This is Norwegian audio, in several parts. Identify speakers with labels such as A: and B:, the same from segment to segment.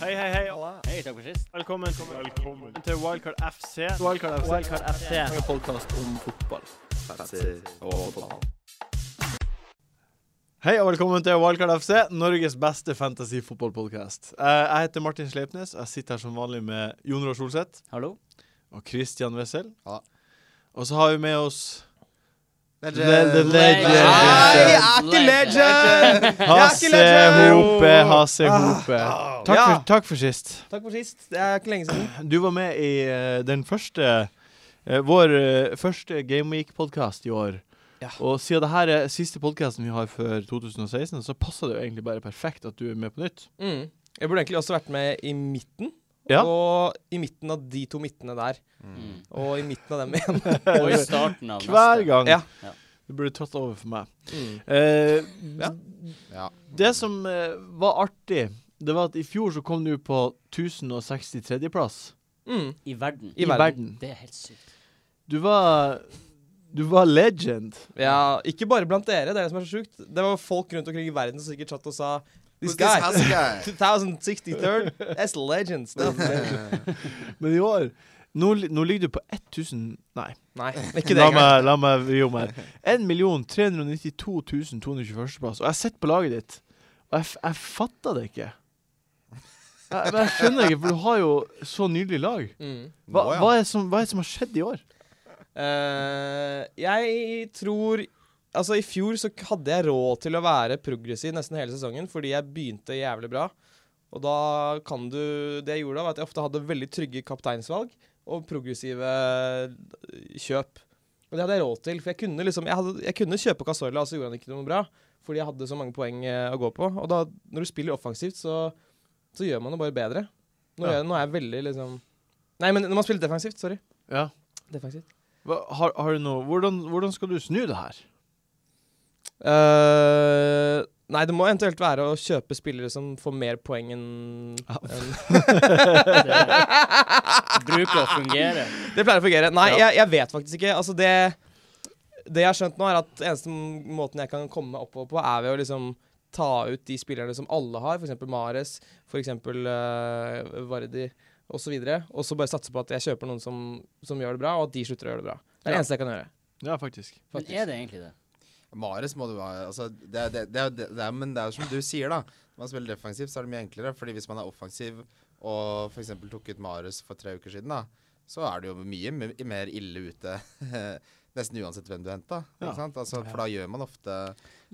A: Hei, hei, hei.
B: Hei, takk for sist.
A: Velkommen, til Wildcard FC.
C: Wildcard FC.
B: Wildcard FC.
C: En podkast om fotball.
A: Hei og velkommen til Wildcard FC, Norges beste fantasy-fotballpodkast. Eh, Jeg heter Martin Sleipnes, og jeg sitter her som vanlig med Jon Roar Solseth
B: Hallo.
A: og Christian Wessel.
D: Ja.
A: Og så har vi med oss
D: Legend.
A: The
D: Nei, jeg
A: Legend.
D: er ikke legend!
A: Hasse Hope, Hasse Hope. Takk
D: Ah. Ja.
A: for, takk for sist.
D: Takk for sist. Det er ikke lenge siden.
A: Du var med i eh, den første eh, Vår eh, første Game Week-podkast i år.
D: Ja.
A: Og siden det her er siste podkasten vi har før 2016, så passer det jo egentlig bare perfekt at du er med på nytt.
D: Mm. Jeg burde egentlig også vært med i midten.
A: Ja.
D: Og i midten av de to midtene der.
B: Mm.
D: Og i midten av dem igjen.
B: Og i starten av
A: Hver
B: neste.
A: gang.
D: Ja.
B: Ja.
A: Du burde tatt over for meg.
D: Mm.
A: Eh,
D: Ja.
E: Ja.
A: Det som eh, var artig, det var at i fjor så kom du på 1063.-plass
D: Mm.
B: I verden.
D: I verden.
B: Det er helt sykt.
A: Du var Du var legend.
D: Ja, ikke bare blant dere, dere som er så sjukt. Det var folk rundt omkring i verden som sikkert satt og sa This
E: Who's
D: guy.
E: this house guy?
D: 2063rd. That's legend stuff.
A: Men i år Nå, li- nå ligger du på 1000 Nei.
D: Nei, ikke det
A: la,
D: engang.
A: meg, la meg vri om her. 1 392 221. plass. Og jeg sitter på laget ditt, og jeg, f jeg fatter det ikke. Jeg, men jeg skjønner ikke, for du har jo så nydelig lag.
D: Mm.
A: Hva,
E: Nå, ja.
A: hva, er det som, hva er det som har skjedd i år?
D: Eh, jeg tror Altså, i fjor så k- hadde jeg råd til å være progressiv nesten hele sesongen fordi jeg begynte jævlig bra. Og da kan du Det jeg gjorde da, var at jeg ofte hadde veldig trygge kapteinsvalg og progressive eh, kjøp. Og det hadde jeg råd til, for jeg kunne liksom Jeg, hadde, jeg kunne kjøpe Casorla, og så gjorde han ikke noe bra. Fordi jeg hadde så mange poeng eh, å gå på. Og da, når du spiller offensivt, så, så gjør man det bare bedre. Nå,
A: Ja.
D: gjør, nå er jeg veldig liksom Nei, men når man spiller defensivt. Sorry.
A: Ja.
D: Defensivt.
A: Hva, har, har du noe hvordan, hvordan skal du snu det her?
D: Eh, nei, det må eventuelt være å kjøpe spillere som får mer poeng enn enn-
B: Det bruker å fungere.
D: Det pleier å fungere. Nei,
B: Ja.
D: jeg, jeg vet faktisk ikke. Altså, det Det jeg har skjønt nå, er at eneste måten jeg kan komme meg oppover på, er ved å liksom ta ut de spillerne som alle har, f.eks. Mares, f.eks. Uh, Vardi osv., og så bare satse på at jeg kjøper noen som, som gjør det bra, og at de slutter å gjøre det bra. Det er det
A: Ja.
D: eneste jeg kan gjøre.
A: Ja, faktisk.
B: Men er det egentlig det?
E: Mares må du ha altså, det, er- det, det, er- det, er- Men det er jo som du sier, da. Når man spiller defensivt, så er det mye enklere. Fordi hvis man er offensiv og f.eks. tok ut Mares for tre uker siden, da, så er det jo mye me- mer ille ute. Nesten uansett hvem du henter. Ikke
A: Ja.
E: sant? Altså, for da gjør man ofte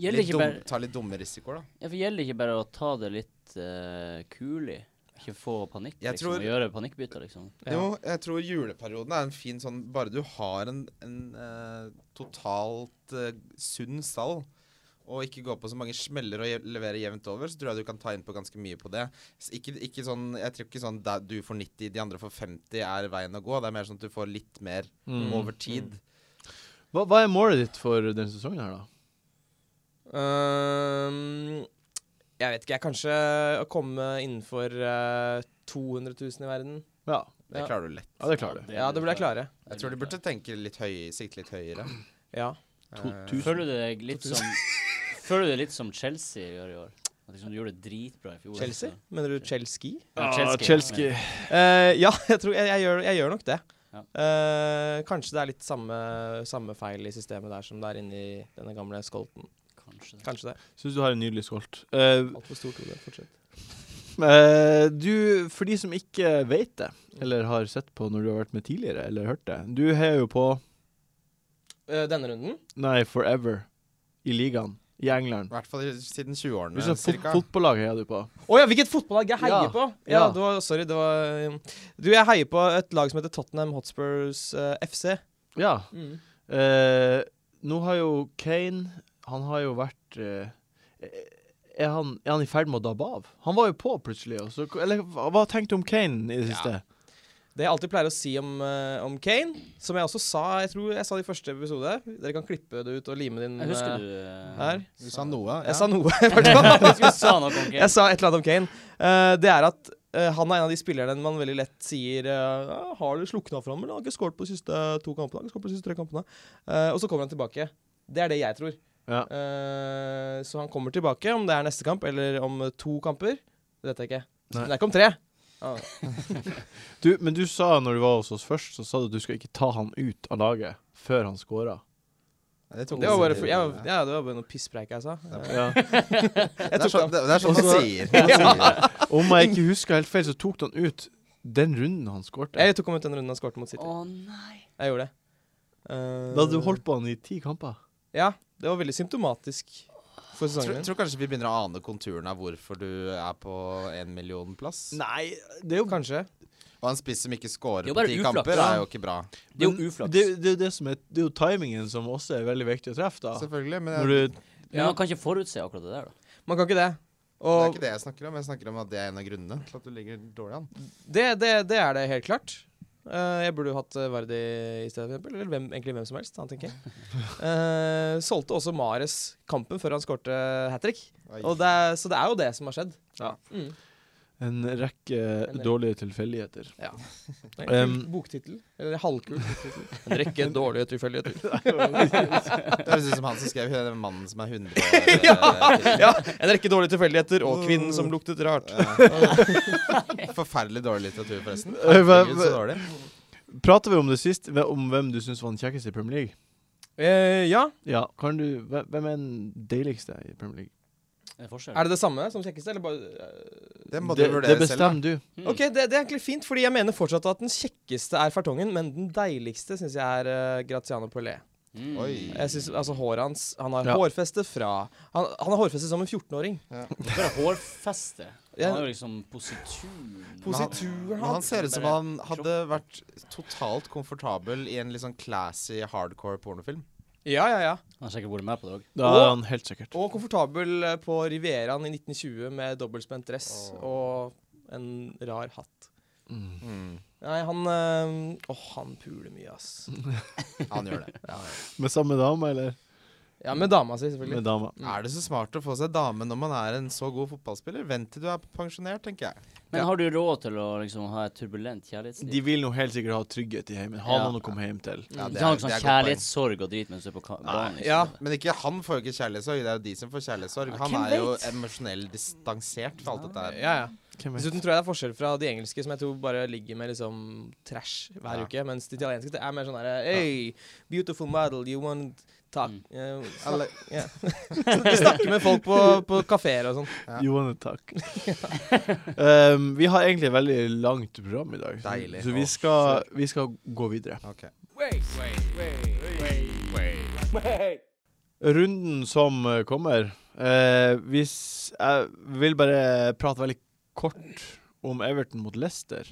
B: Gjelder
E: litt
B: ikke
E: dum,
B: bare,
E: tar litt dumme risikoer, da.
B: ja, for gjelder ikke bare å ta det litt eh, kulig? Ikke få panikk,
E: Jeg
B: liksom.
E: tror-
B: Og gjøre panikkbytter, liksom.
D: Ja.
E: Jo, jeg tror juleperioden er en fin sånn Bare du har en, en eh, totalt eh, sunn stall og ikke gå på så mange smeller og je- levere jevnt over, så tror jeg du kan ta inn på ganske mye på det. S- Ikke, ikke sånn, jeg tror ikke sånn da du får 90, de andre får 50 er veien å gå. Det er mer sånn at du får litt mer
A: Mm.
E: over tid.
A: Hva, hva er målet ditt for denne sesongen her, da?
D: Øhm, Ehm, jeg vet ikke. Jeg kanskje å komme innenfor eh, 200 000 i verden.
A: Ja,
E: Det
D: Mm. Ja.
E: klarer du lett.
A: ja det klarer du.
D: Ja, det burde jeg klare.
E: Jeg tror du burde tenke litt høy, sikte litt høyere.
D: Ja.
E: Eh,
B: Føler du deg litt som Føler du deg litt som Chelsea gjør i år? At liksom, du gjorde det dritbra i fjor.
D: Chelsea?
B: altså.
D: Mener du Chelsea?
B: Ja,
A: Ah,
B: Chelsea.
A: Chelsea.
D: Eh, ja, jeg, tror, jeg, jeg, gjør, jeg gjør nok det.
B: Ja.
D: Eh, kanskje det er litt samme, samme feil i systemet der som det er inni denne gamle skolten.
B: Kanskje.
D: Kanskje det.
A: Syns du har en nydelig skolt. Eh,
D: Altfor stort hode. Fortsett.
A: Eh, du, for de som ikke vet det, eller har sett på når du har vært med tidligere, eller hørt det Du heier jo på
D: Eh, denne runden?
A: Nei, Forever i ligaen i
E: I
A: England.
E: hvert fall siden 20-årene,
A: Hvilket fot
E: cirka.
A: fotballag heier du på?
D: Å ja, hvilket fotballag jeg heier
A: Ja,
D: på! Ja,
A: ja.
D: Det var, sorry, det var eh, Du, jeg heier på et lag som heter Tottenham Hotspurs eh, FC.
A: Ja.
D: Mm.
A: Eh, nå har jo Kane Han har jo vært eh, er, han, er han i ferd med å dabbe av? Han var jo på plutselig. Og så, eller hva hva tenkte du om Kane i det siste?
D: Det jeg alltid pleier å si om, eh, om Kane, som jeg også sa Jeg tror jeg sa det i første episode. Dere kan klippe det ut og lime det inn.
B: Jeg
D: eh,
B: husker du eh,
D: her.
E: Du sa noe.
D: Jeg sa noe. i hvert fall.
B: Jeg husker du sa noe om
D: jeg sa et eller annet om Kane. Eh, det er at eh, han er en av de spillerne man veldig lett sier eh, «Ja, Har du slukna for ham, eller har ikke skåret på de siste to kampene? Har ikke skåret på de siste tre kampene Eh, Og så kommer han tilbake. Det er det jeg tror.
A: Ja.
D: Eh, så han kommer tilbake, om det er neste kamp eller om eh, to kamper. Det vet jeg ikke.
A: Nei.
D: Men det er ikke om tre.
A: Du, men du sa når du var hos oss først, så sa du at du skal ikke ta han ut av laget før han scora.
E: Det,
D: Det var bare for, ja, ja, det var bare noe pisspreik jeg sa.
A: Ja.
E: det, er sånn, det, det er
A: Og
E: sånn man
A: så-
E: sier. Man sier.
A: Om jeg ikke husker helt feil, så tok han ut den runden han skårte.
D: Jeg tok ham ut den runden han skåret mot City.
B: Å nei.
D: Jeg gjorde det. Eh,
A: Da hadde du holdt på han i ti kamper.
D: Ja, det var veldig symptomatisk for
E: Jeg tror,
D: sesongen min.
E: tror kanskje vi begynner å ane konturene av hvorfor du er på en millionplass.
A: Nei, det er jo
D: Kanskje.
E: Og en spiss som ikke scorer
B: Det er
E: på
B: bare
E: ti
B: uflaks,
E: kamper,
B: da.
E: er jo ikke bra.
B: Det er
A: Men
B: jo uflaks.
A: Det, det, er jo det, som er, det er jo timingen som også er veldig viktig å treffe, da.
E: Selvfølgelig, men
A: Når
E: det
A: du,
B: Men man kan ikke forutse akkurat det der, da.
D: Man kan ikke det.
E: er
D: Og
E: ikke det jeg snakker om. Jeg snakker om at det er en av grunnene til at du ligger dårlig an.
D: det, det, det er det helt klart. Eh, jeg burde jo hatt eh, Vardi i stedet, for eksempel. Eller hvem, egentlig hvem som helst, han tenker jeg. Eh, solgte også Mares kampen før han skårte hat trick.
E: Oi.
D: Og det, er- så det er jo det som har skjedd.
A: Ja.
D: Mm.
A: en rekke dårlige tilfeldigheter.
D: Det er
A: Um,
D: en kul boktittel. Eller halvkul boktittel. En rekke dårlige tilfeldigheter.
E: Det høres ut som han som skrev den mannen som er eh, 100 år. eh,
D: Ja, Mm. en rekke dårlige tilfeldigheter og kvinnen som luktet rart.
E: eh, Forferdelig dårlig litteratur, forresten.
A: Eh, hva-
E: Herregud, så dårlig.
A: Prater vi om det sist, hve- om hvem du syns var den kjekkeste i Premier League?
D: Eh, ja,
A: Ja, kan du, hve- Hvem er den deiligste i Premier League?
B: Er det forskjell?
D: er det det samme som kjekkeste, eller bare eh,
E: Det må du
A: Det, det
E: vurdere selv. da.
A: bestemmer du.
B: Mm.
D: Ok, det, det er egentlig fint, fordi jeg mener fortsatt at den kjekkeste er fartongen, men den deiligste syns jeg er eh, Graziano Polé.
B: Mm.
E: Oi.
D: Jeg synes, altså Håret hans Han har
A: Ja.
D: hårfeste fra Han, han har hårfeste som en 14-åring.
B: Bare hårfeste.
D: Ja.
B: Han har jo liksom posituren.
E: Men
D: Posituren
E: han
D: hans
E: ser ut som han hadde vært totalt komfortabel i en litt sånn classy hardcore pornofilm.
D: Ja, ja, ja.
B: Han har sikkert vært med på det òg.
A: Da er
D: Og-
A: han helt sikkert.
D: Og komfortabel eh, på Rivieraen i 1920 med dobbeltspent dress
E: Åh.
D: og en rar hatt.
A: Mm.
D: Nei, han eh, Åh, han puler mye, ass.
E: Han gjør det.
A: Med samme dame, eller?
D: Ja, med dama si,
A: Med
D: selvfølgelig.
A: dama.
D: Mm.
E: Er det så smart å få seg dame når man er en så god fotballspiller? Vent til du er pensjonert, tenker jeg.
B: Men har du råd til å liksom ha et turbulent kjærlighetsliv?
A: De vil nå helt sikkert ha trygghet i heimen. Ha
B: Ja.
A: noen å komme hjem til.
E: Ja,
B: Du
E: det
B: har
E: er-
B: ikke sånn
E: det er godt poeng.
B: kjærlighetssorg og drit mens du er på ka- banen. Liksom.
D: Ja,
E: Men ikke, han får jo ikke kjærlighetssorg, det er jo de som får kjærlighetssorg.
B: Ja,
E: Han
B: hvem
E: er jo
B: vet?
E: emosjonell distansert fra alt dette her.
D: ja, ja.
A: Hvem vet?
D: Dessuten tror jeg det er forskjell fra de engelske, som jeg tror bare ligger med liksom trash hver
E: Ja.
D: uke, mens de italienske det er mer sånn herre Hey, beautiful model, you want talk
B: Mm.
D: Eh, snak-
E: Alle,
D: ja. Så De snakker med folk på, på kafeer og sånn.
E: Ja.
A: You wanna talk. um, vi har egentlig et veldig langt program i dag, så-
E: Deilig.
A: så
E: Å,
A: vi skal, vi skal gå videre.
E: ok.
A: Runden som eh, kommer eh, hvis, Jeg vil bare prate veldig kort om Everton mot Leicester.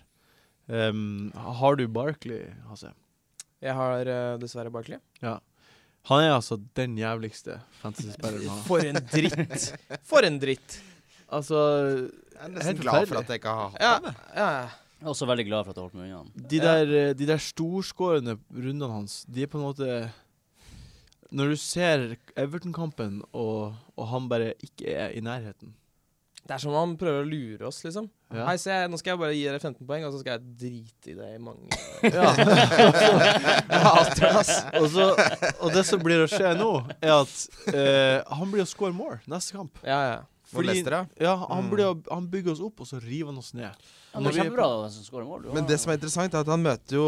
A: Um, har du Barkley, Hasse?
D: Jeg har eh, dessverre Barkley.
A: Han er altså den jævligste fantasy-spilleren. han har.
D: For en dritt. For en dritt.
A: Altså,
E: Jeg er
A: Helt
E: nesten glad for
A: forferdelig.
E: at jeg ikke har hatt
D: Ja, ja.
B: Jeg er også veldig glad for at jeg holdt meg unna. han.
A: De
D: Ja.
A: der, eh, de der storskårende rundene hans, de er på en måte Når du ser Everton-kampen, og, og han bare ikke er i nærheten
D: Det er som om han prøver å lure oss, liksom.
A: Ja.
D: Hei, se, nå skal jeg bare gi dere 15 poeng, og så skal jeg drite i det i mange
A: Ja.
D: Jeg hater det, ass.
A: og, så, og det som blir å skje nå, er at eh, han blir å score more neste kamp.
D: Ja, ja.
E: Mot Leicester, ja.
A: ja, han,
E: Mm.
A: blir å, han bygger oss opp, og så river han oss ned.
B: Han er
A: Når vi er på-
B: kjempebra som skårer mål. Du
E: Men det som er interessant, er at han møter jo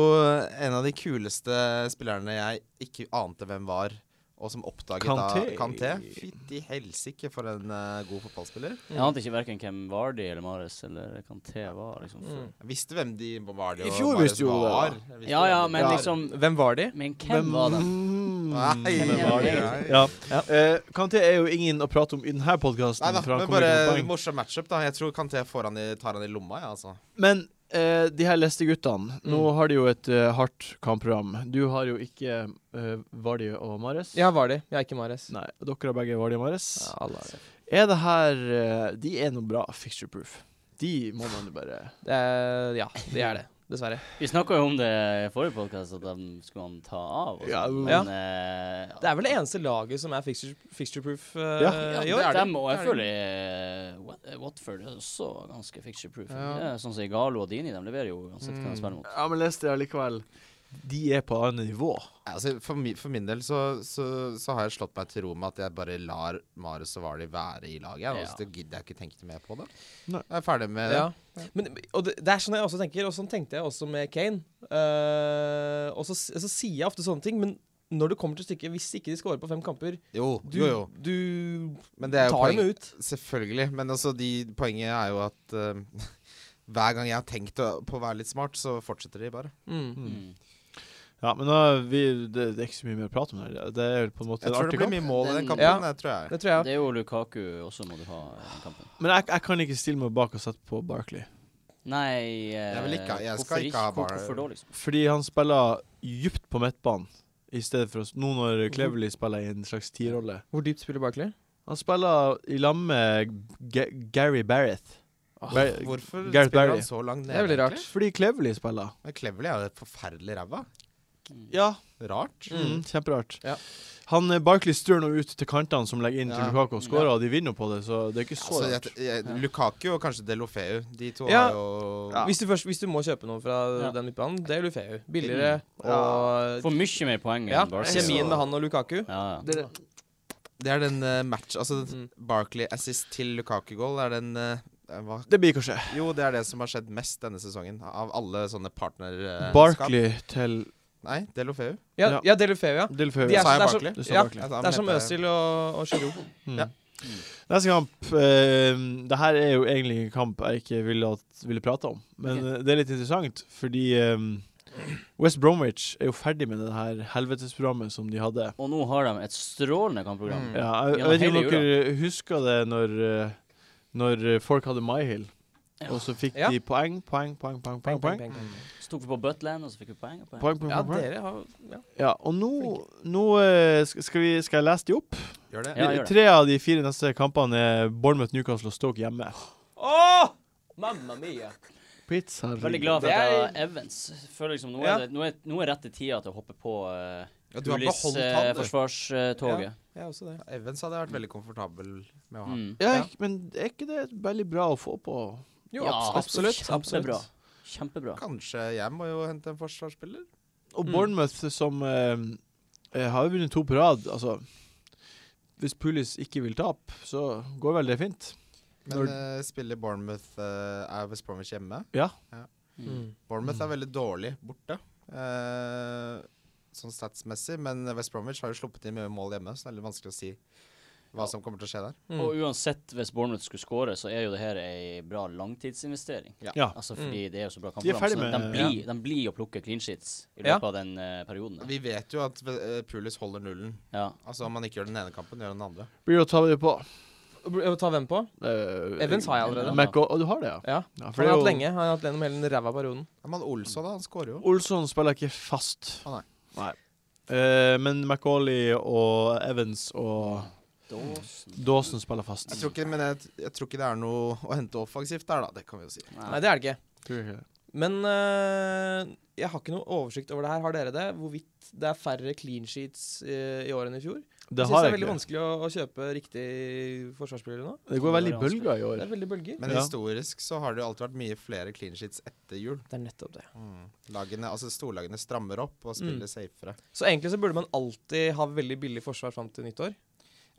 E: en av de kuleste spillerne jeg ikke ante hvem var, og som oppdaget
A: Kanté.
E: da Kanté. Fytti helsike for en eh, god fotballspiller.
B: Jeg ante ikke hverken hvem Vardy eller Mares eller Kanté var. liksom. før.
D: Mm.
E: Jeg visste hvem de var. det
A: I
E: jo
A: fjor
E: bare
A: visste
E: som
A: jo det,
E: var.
A: da.
E: Jeg visste
B: Ja
E: hvem
B: ja,
E: de
B: men
E: var.
B: liksom
D: Hvem var de?
B: Men hvem var det?
A: Mm.
E: Nei,
A: Hvem
B: hvem
A: var det?
E: nei.
A: Ja.
D: Ja.
A: Eh, Kanté er jo ingen å prate om i denne
E: Nei
A: podkasten.
E: da, men bare morsom matchup, da. Jeg tror Kanté får han i, tar han i lomma, jeg, ja, altså.
A: Men eh, de her Leicester-guttene, nå
E: Mm.
A: har de jo et eh, hardt kampprogram. Du har jo ikke eh, Vardy og Mares.
D: Ja, var de. Jeg er ikke Mares.
A: Nei, dere har begge Vardy og Mares.
D: Ja, alle har det.
A: Er det her eh, De er noe bra fixture-proof. De må man jo bare
D: Det er, Eh, ja, det er det. Dessverre.
B: Vi snakka jo om det i forrige podkast, at de skulle han ta av. og
A: Ja,
B: sånn,
D: ja.
B: men, eh,
D: Det er vel det eneste laget som er fixture, fixture-proof eh,
A: Ja.
D: i
B: Ja,
D: år.
B: det er
E: det.
B: dem, og
E: Det
B: jeg
E: er
B: føler eh, Wat- eh, Watford er også ganske fixture-proof.
E: Ja. Mm.
B: Det er Sånn som Igalo og Dini, de leverer jo uansett hva de spiller mot.
A: Ja, men Leicester er likevel de er på annet nivå.
E: Altså, for, mi, for min del så, så, så har jeg slått meg til ro med at jeg bare lar Marius og Vali være i laget. Jeg,
B: Ja.
E: altså, det gidder jeg ikke tenke noe mer på det.
A: Nei.
E: Jeg er ferdig med
D: Ja.
E: det.
D: Men, og det, det er sånn jeg også tenker, og sånn tenkte jeg også med Kane. Eh, og så, s- så sier jeg ofte sånne ting, men når det kommer til stykket, hvis ikke de scorer på fem kamper,
E: Jo,
D: du,
E: jo, jo.
D: du
E: Men det er jo
D: tar dem
E: poeng.
D: ut.
E: Selvfølgelig. Men altså, de, poenget er jo at eh, hver gang jeg har tenkt å, på å være litt smart, så fortsetter de bare.
D: Mm.
B: Mm.
A: Ja, men da, vi, det, det er ikke så mye mer å prate om her. Det er vel på en måte en
E: Jeg tror
A: artig
E: det blir
A: kamp.
E: mye mål i den
B: Den-
E: kampen.
D: Ja.
E: Det tror jeg.
D: Det tror jeg.
B: Det er jo Lukaku også må du ha i den kampen.
A: Men jeg, jeg kan ikke stille meg bak og sette på Barkley.
B: Nei eh,
E: Jeg vil ikke- jeg skal
B: hvorfor
E: ikke ha bar-
B: Hvorfor da, liksom?
A: Fordi han spiller dypt på midtbanen i stedet for oss. Nå når
E: Mhm.
A: Cleverly spiller i en slags tierrolle.
D: Hvor dypt spiller Barkley?
A: Han spiller i lag med Ga- Gary Barrett. Bar
E: Hvorfor
A: Gareth
E: spiller
A: Barry.
E: han så langt nede?
D: Det er veldig rart.
E: egentlig?
A: fordi Cleverly spiller.
E: Men Cleverly er jo et forferdelig ræva.
A: Ja.
E: Rart.
A: Mm, kjemperart.
E: Ja.
A: Han eh, Barkley strør nå ut til kantene som legger inn til
E: Ja.
A: Lukaku og skårer, og de vinner på det, så det er ikke så
E: Altså,
A: rart.
E: jeg, jeg, Lukaku og kanskje Delofeu. De to
D: Ja.
E: har jo
A: Ja.
D: Hvis, du først, hvis du må kjøpe noen fra
B: Ja.
D: den midtbanen, det er Lufeu. Billigere
E: Mm.
D: og
B: Får mye mer poeng
D: Ja,
B: enn Barca.
D: kjemien med han og Lukaku.
B: Ja, ja.
A: Dere-
E: Det er den eh, match Altså
D: Mm.
E: Barkley assist til Lukaku-goal er den eh, hva?
A: Det blir kanskje
E: Jo, Eh, det er det som har skjedd mest denne sesongen. Av alle sånne partnerskap.
A: Barkley til
E: Nei, Delofeu.
D: Ja,
A: Ja.
D: ja det er Lufeu, ja.
A: Delfeu.
D: De er, det
E: Sa jeg
D: er,
E: Barkley?
A: Du
D: så,
A: sa
D: ja,
A: Barkley.
E: Altså, han
D: det er som
E: heter-
D: Øzil og, og Giroud.
A: Mm.
E: Ja.
A: Neste kamp eh, Det her er jo egentlig en kamp jeg ikke ville, at, ville prate om, men eh, det er litt interessant fordi eh, West Bromwich er jo ferdig med det her helvetesprogrammet som de hadde.
B: Og nå har de et strålende kampprogram.
E: Mm.
A: Ja, jeg, jeg
B: Gjennom
A: vet ikke om
B: hele
A: dere husker det når, eh, når eh, folk hadde MyHill, og så fikk
D: Ja.
A: de poeng, poeng, poeng, poeng, poeng. poeng,
D: peng,
E: Mm.
D: peng.
B: Så tok vi på Butland, og så fikk vi poeng. og poeng.
A: poeng, poeng,
D: Mm. Ja,
A: poeng.
D: dere har ja.
A: Ja, og nå, nå eh, sk- skal, vi, skal jeg lese de opp?
E: Gjør det.
B: Ja. gjør det.
A: Tre av de fire neste kampene er Bournemouth, Newcastle og Stoke hjemme.
D: Åh! Mamma mia.
A: Pizza
B: Veldig glad for
D: Det
B: at jeg
D: er-
B: har Evans. Føler liksom, nå, er
D: Ja.
B: det, nå, er, nå er rette tida til å hoppe på uh,
E: Ja, du har beholdt
B: eh,
E: han, du.
B: forsvarstoget.
D: Jeg er også det.
E: Evans hadde jeg vært veldig komfortabel med å ha.
B: Mm.
A: Ja,
D: Ja.
A: ikk- men er ikke det veldig bra å få på?
D: Jo,
B: Ja,
D: abs- absolutt. absolutt.
B: Kjempebra. Kjempebra.
E: Kanskje jeg må jo hente en forsvarsspiller?
A: Og
D: Mm.
A: Bournemouth, som eh, eh, har jo vunnet to på rad, altså Hvis Pulis ikke vil tape, så går vel det fint.
E: Men
A: Når-
E: eh, spiller Bournemouth eh, Er West Bromwich hjemme?
B: Mm.
E: Bournemouth
A: Mm.
E: er veldig dårlig borte. eh, sånn statsmessig, men West Bromwich har jo sluppet inn mye mål hjemme, så det er litt vanskelig å si hva som kommer til å skje der.
D: Mm.
B: Og uansett, hvis Bournemouth skulle skåre, så er jo det her ei bra langtidsinvestering.
E: Ja.
A: Ja.
B: Altså fordi det er jo så bra
A: De er
B: kampprogram.
A: ferdig
B: så de,
A: med-
B: blir, de blir å plukke clean sheets i
D: Ja.
B: løpet av den eh, perioden. der.
E: Vi vet jo at eh, Pulis holder nullen.
B: Ja.
E: Altså Om man ikke gjør den ene kampen, gjør den andre.
A: Blir det å ta det på?
D: Br- Ta hvem på?
A: eh,
D: Evans har jeg allerede.
A: Mac- og, og du har det, ja?
D: Ja.
A: ja
D: Han har hatt
A: det er jo-
D: lenge. Han har hatt gjennom hele den ræva perioden.
E: Ja, men Olsson, da. Han skårer jo.
A: Olsson spiller ikke fast.
E: Å, nei.
A: Nei. Eh, men Macauley og Evans og
B: Dawson.
A: Dawson spiller fast.
E: Jeg tror ikke, men jeg, jeg tror ikke det er noe å hente offensivt der, da. Det kan vi jo si.
D: Nei, det er det ikke.
A: Tror jeg ikke det.
D: Men øh, jeg har ikke noe oversikt over det her. Har dere det? Hvorvidt det er færre clean sheets øh, i år enn i fjor?
A: Det har
D: jeg synes det
A: jeg
D: er veldig
A: ikke.
D: vanskelig å, å kjøpe riktig forsvarsspiller nå.
A: Det går veldig i bølger i
D: Det
A: år.
D: er veldig bølger.
E: Men
A: Ja.
E: historisk så har det jo alltid vært mye flere clean sheets etter jul.
D: Det er nettopp det.
E: Lagene, altså Storlagene strammer opp og
A: Mm.
E: spiller safere.
D: Så egentlig så burde man alltid ha veldig billig forsvar fram til nyttår.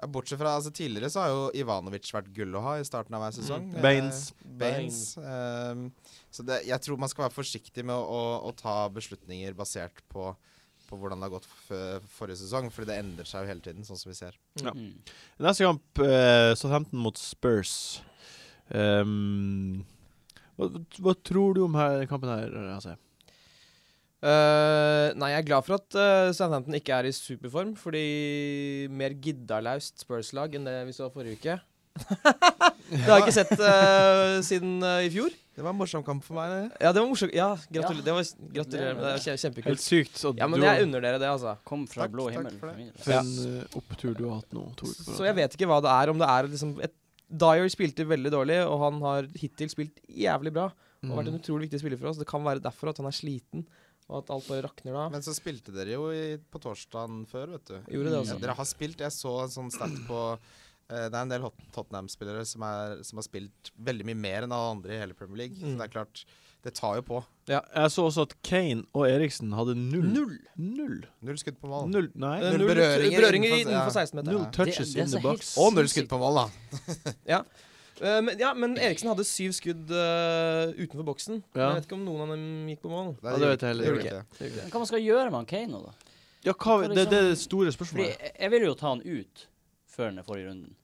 E: Ja, bortsett fra altså, tidligere så har jo Ivanovic vært gull å ha i starten av hver sesong. Eh,
A: Baines.
E: Baines. ehm, så det, jeg tror man skal være forsiktig med å, å, å ta beslutninger basert på, på hvordan det har gått f forrige sesong, fordi det endrer seg jo hele tiden, sånn som vi ser.
A: Ja.
B: Mm.
A: Neste kamp, uh, Southampton mot Spurs. Ehm, hva, hva tror du om her, kampen her? Altså?
D: Eh, nei, jeg er glad for at eh, Southampton ikke er i superform, fordi mer giddalaust Spurs-lag enn det vi så forrige uke. det har jeg ikke sett eh, siden eh, i fjor.
E: Det var en morsom kamp for meg. det.
D: Ja, det var morsomt. Ja, gratulerer.
B: Ja.
D: Det var, gratulerer med det. det. var kje-
A: Helt sånn
D: Kjempekult.
A: sykt. Og
D: Ja, men
A: du har-
D: jeg unner dere det, altså.
B: Kom fra
E: Takk,
B: blå
E: takk
B: himmel.
E: for
B: for
E: det.
B: min del.
A: for en eh, opptur du har hatt nå. Tor.
D: Så jeg vet ikke hva det er, om det er liksom et Dyer spilte veldig dårlig, og han har hittil spilt jævlig bra. Og vært en
A: Mm.
D: utrolig viktig spiller for oss. Det kan være derfor at han er sliten, og at alt bare rakner da.
E: Men så spilte dere jo i, på torsdagen før, vet du.
D: Gjorde det altså.
E: Ja,
D: også.
E: dere har spilt. Jeg så en sånn stat på Eh, Det er en del Hot- Tottenham-spillere som, er- som har spilt veldig mye mer enn alle andre i hele Premier League. Så
D: Mm.
E: det er klart, det tar jo på.
A: Jeg så også at Kane og Eriksen hadde null Null, null,
E: Null skudd på mål.
A: null Nei,
D: Eh,
E: Null
D: Null
E: berøringer
D: berøringer,
E: innenfor- ja.
D: innenfor 16-meteren.
A: null touches
B: Det- det er
A: in
B: så
A: the
B: helt
A: box.
E: Og null skudd på mål, da.
D: Eh, men, ja, men Eriksen hadde syv skudd eh, utenfor boksen.
A: Ja.
D: Jeg vet ikke om noen av dem gikk på mål.
A: Ja, det vet jeg heller
E: gjorde
A: ikke.
E: ikke. det.
B: Men hva man skal gjøre med han Kane nå, da?
A: Ja, hva, det, det er det store
B: Fordi
A: spørsmålet.
B: jeg, jeg ville jo ta han ut før den forrige runden.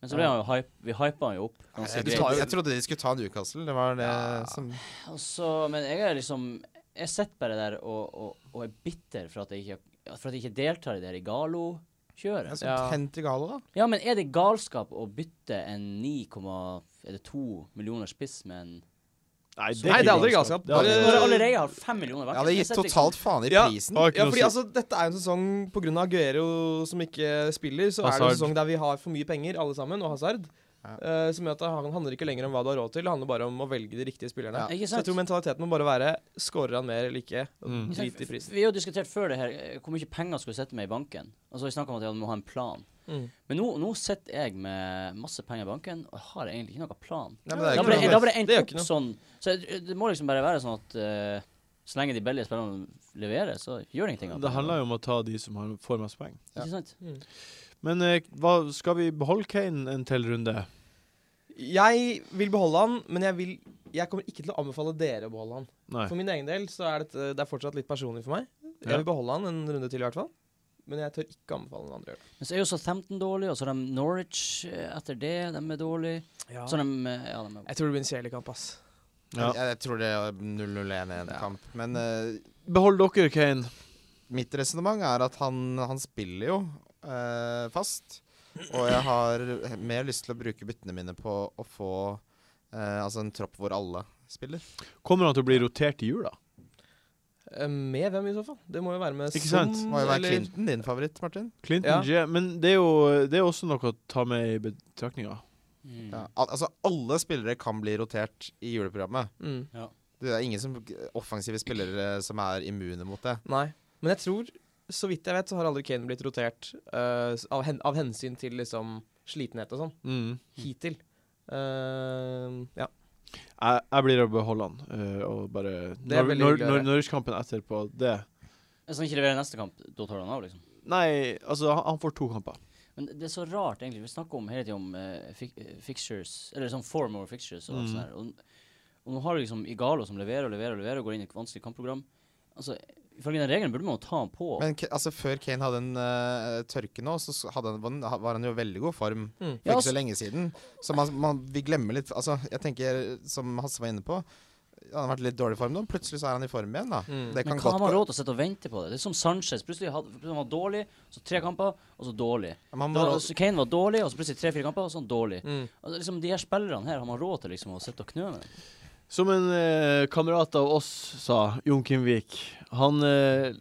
B: Men så ble han jo hype, vi hypa han jo opp.
E: Nei,
B: ganske
E: Jeg,
B: greit.
E: trodde- jeg trodde de skulle ta Newcastle. Det var det som
B: Og så, men jeg er liksom Jeg sitter bare der og, og, og er bitter for at jeg ikke, for at jeg ikke deltar i det her
E: Jeg
B: Igalo-kjøret.
E: skulle
D: Ja.
E: tent i galo, da.
B: Ja, men er det galskap å bytte en 9,2 millioner spiss med en
D: Nei, det er aldri galskap.
A: Det er aldri
D: Bare-
B: Når jeg allerede har fem millioner
E: Jeg
B: bak
E: hadde gitt
B: sitter
E: totalt faen i
D: Ja.
E: prisen.
A: Har ikke
D: Ja,
A: noe å
D: fordi
A: si.
D: altså, Dette er jo en sesong pga. Aguero som ikke spiller. Så er det
A: Hazard.
D: en sesong der vi har for mye penger, alle sammen, og Hazard. eh, som gjør at det han- handler ikke lenger om hva du har råd til, det handler bare om å velge de riktige spillerne.
B: Ja. Ikke
D: Så jeg
B: sant?
D: tror mentaliteten må bare være skårer han mer eller ikke. og
A: Mm.
B: Ikke sant?
D: Drit i prisen.
B: Vi har jo diskutert før det her eh, hvor mye penger skulle jeg sitte med i banken. Og så har vi snakket om at jeg må ha en plan.
D: Mm.
B: Men nå, nå sitter jeg med masse penger i banken, og jeg har egentlig ikke noen plan.
E: Nei, men det er
B: Da
E: ikke
B: ble
E: noe-
B: det, da ble det endt
D: Det gjør
B: opp
D: ikke noe.
B: sånn Så jeg- det må liksom bare være sånn at eh, så lenge de billige spillerne leverer, så gjør det ingenting.
A: Det handler jo om å ta de som har, får mest poeng.
E: ja.
B: Ikke sant?
D: Mm.
A: Men eh, hva, skal vi beholde Kane en til runde?
D: Jeg vil beholde han, men jeg, vil, jeg kommer ikke til å anbefale dere å beholde han.
A: Nei.
D: For min egen del så er dette, det er fortsatt litt personlig for meg.
A: Ja.
D: Jeg vil beholde han en runde til i hvert fall. Men jeg tør ikke anbefale noen andre å gjøre det.
B: Men så er jo Southampton dårlig, og så er de Norwich eh, etter det. De er dårlige. Så
A: Sånn,
B: er de eh, Ja, de er
D: Jeg tror det blir en kjedelig kamp, ass.
A: Ja.
E: Jeg, jeg tror det er 0-0-1-1-kamp. Men eh,
A: Behold dere, Kane.
E: mitt resonnement er at han, han spiller jo eh, fast. Og jeg har mer lyst til å bruke byttene mine på å få eh, altså en tropp hvor alle spiller.
A: Kommer han til å bli rotert i jula?
D: Eh, Med hvem i så fall? Det må jo være med
A: Ikke sant?
E: Det
D: Son,
E: må jo være
D: eller-
E: Clinton din favoritt, Martin.
A: Clinton J. Men det er jo det er også noe å ta med i betraktninga.
B: mm.
E: Ja. Al altså, alle spillere kan bli rotert i juleprogrammet.
D: Mm.
E: Det er ingen som, offensive spillere som er immune mot det.
D: Nei. Men jeg tror, så vidt jeg vet, så har aldri Kane blitt rotert eh, s- av, hen, av hensyn til liksom slitenhet og sånn.
A: Mm.
D: Hittil. Eh, ja.
A: Jeg, jeg blir å beholde han. eh, og bare
D: Det er
A: Nor-
D: veldig
A: Nor-
D: hyggelig å
A: Nor-
D: høre.
A: Norwich-kampen etterpå, det
B: Hvis han ikke leverer neste kamp, da tar han av, liksom.
A: Nei, altså, han, han får to kamper.
B: Men det er så rart, egentlig. Vi snakker om hele tida om eh, fi eh, fixtures, eller sånn form over fixtures og alt
A: Mm.
B: sånt der. Og, og nå har du liksom Igalo som leverer og leverer og leverer og går inn i et vanskelig kampprogram. Altså, ifølge den regelen burde man jo ta han på.
E: Men K altså, før Kane hadde en eh, tørke nå, så s- hadde han, var han- var han jo i veldig god form
D: Mm.
E: for
B: Ja,
E: ikke så
B: altså-
E: lenge siden. Så man, man, vi glemmer litt Altså, jeg tenker, som Hasse var inne på, han har vært litt dårlig i form nå. Plutselig så er han i form igjen, da.
D: Mm.
E: Det
B: Men
E: kan
B: hva har
E: godt
B: man
E: gå.
B: råd til å sitte og vente på det? Det er som Sanchez. Plutselig had- plutselig var han dårlig, så tre kamper, og så dårlig.
E: Man
B: Da, altså,
E: må
B: så Kane var dårlig, og så plutselig tre-fire kamper, og så han dårlig.
D: Mm.
B: Altså, liksom, de her spillerne her har man råd til liksom, å sitte og knø med.
A: Som en eh, kamerat av oss sa, Jon Kimvik, han eh,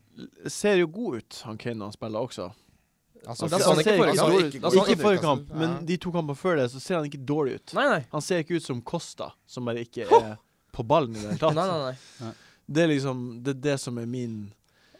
A: ser jo god ut, han Kane, når han spiller også.
E: altså,
D: Da sa han ikke
A: ser
D: forrige
A: ikke
D: kamp.
A: dårlig ut.
E: Ikke
D: Da sa han
A: Ikke forrige kamp,
E: Newcastle.
A: men
E: Ja.
A: de to kampene før det, så ser han ikke dårlig ut.
D: Nei, nei.
A: Han ser ikke ut som Costa, som bare ikke er på ballen i det hele
D: nei, nei,
A: tatt.
D: nei.
A: Det er liksom det, er det som er min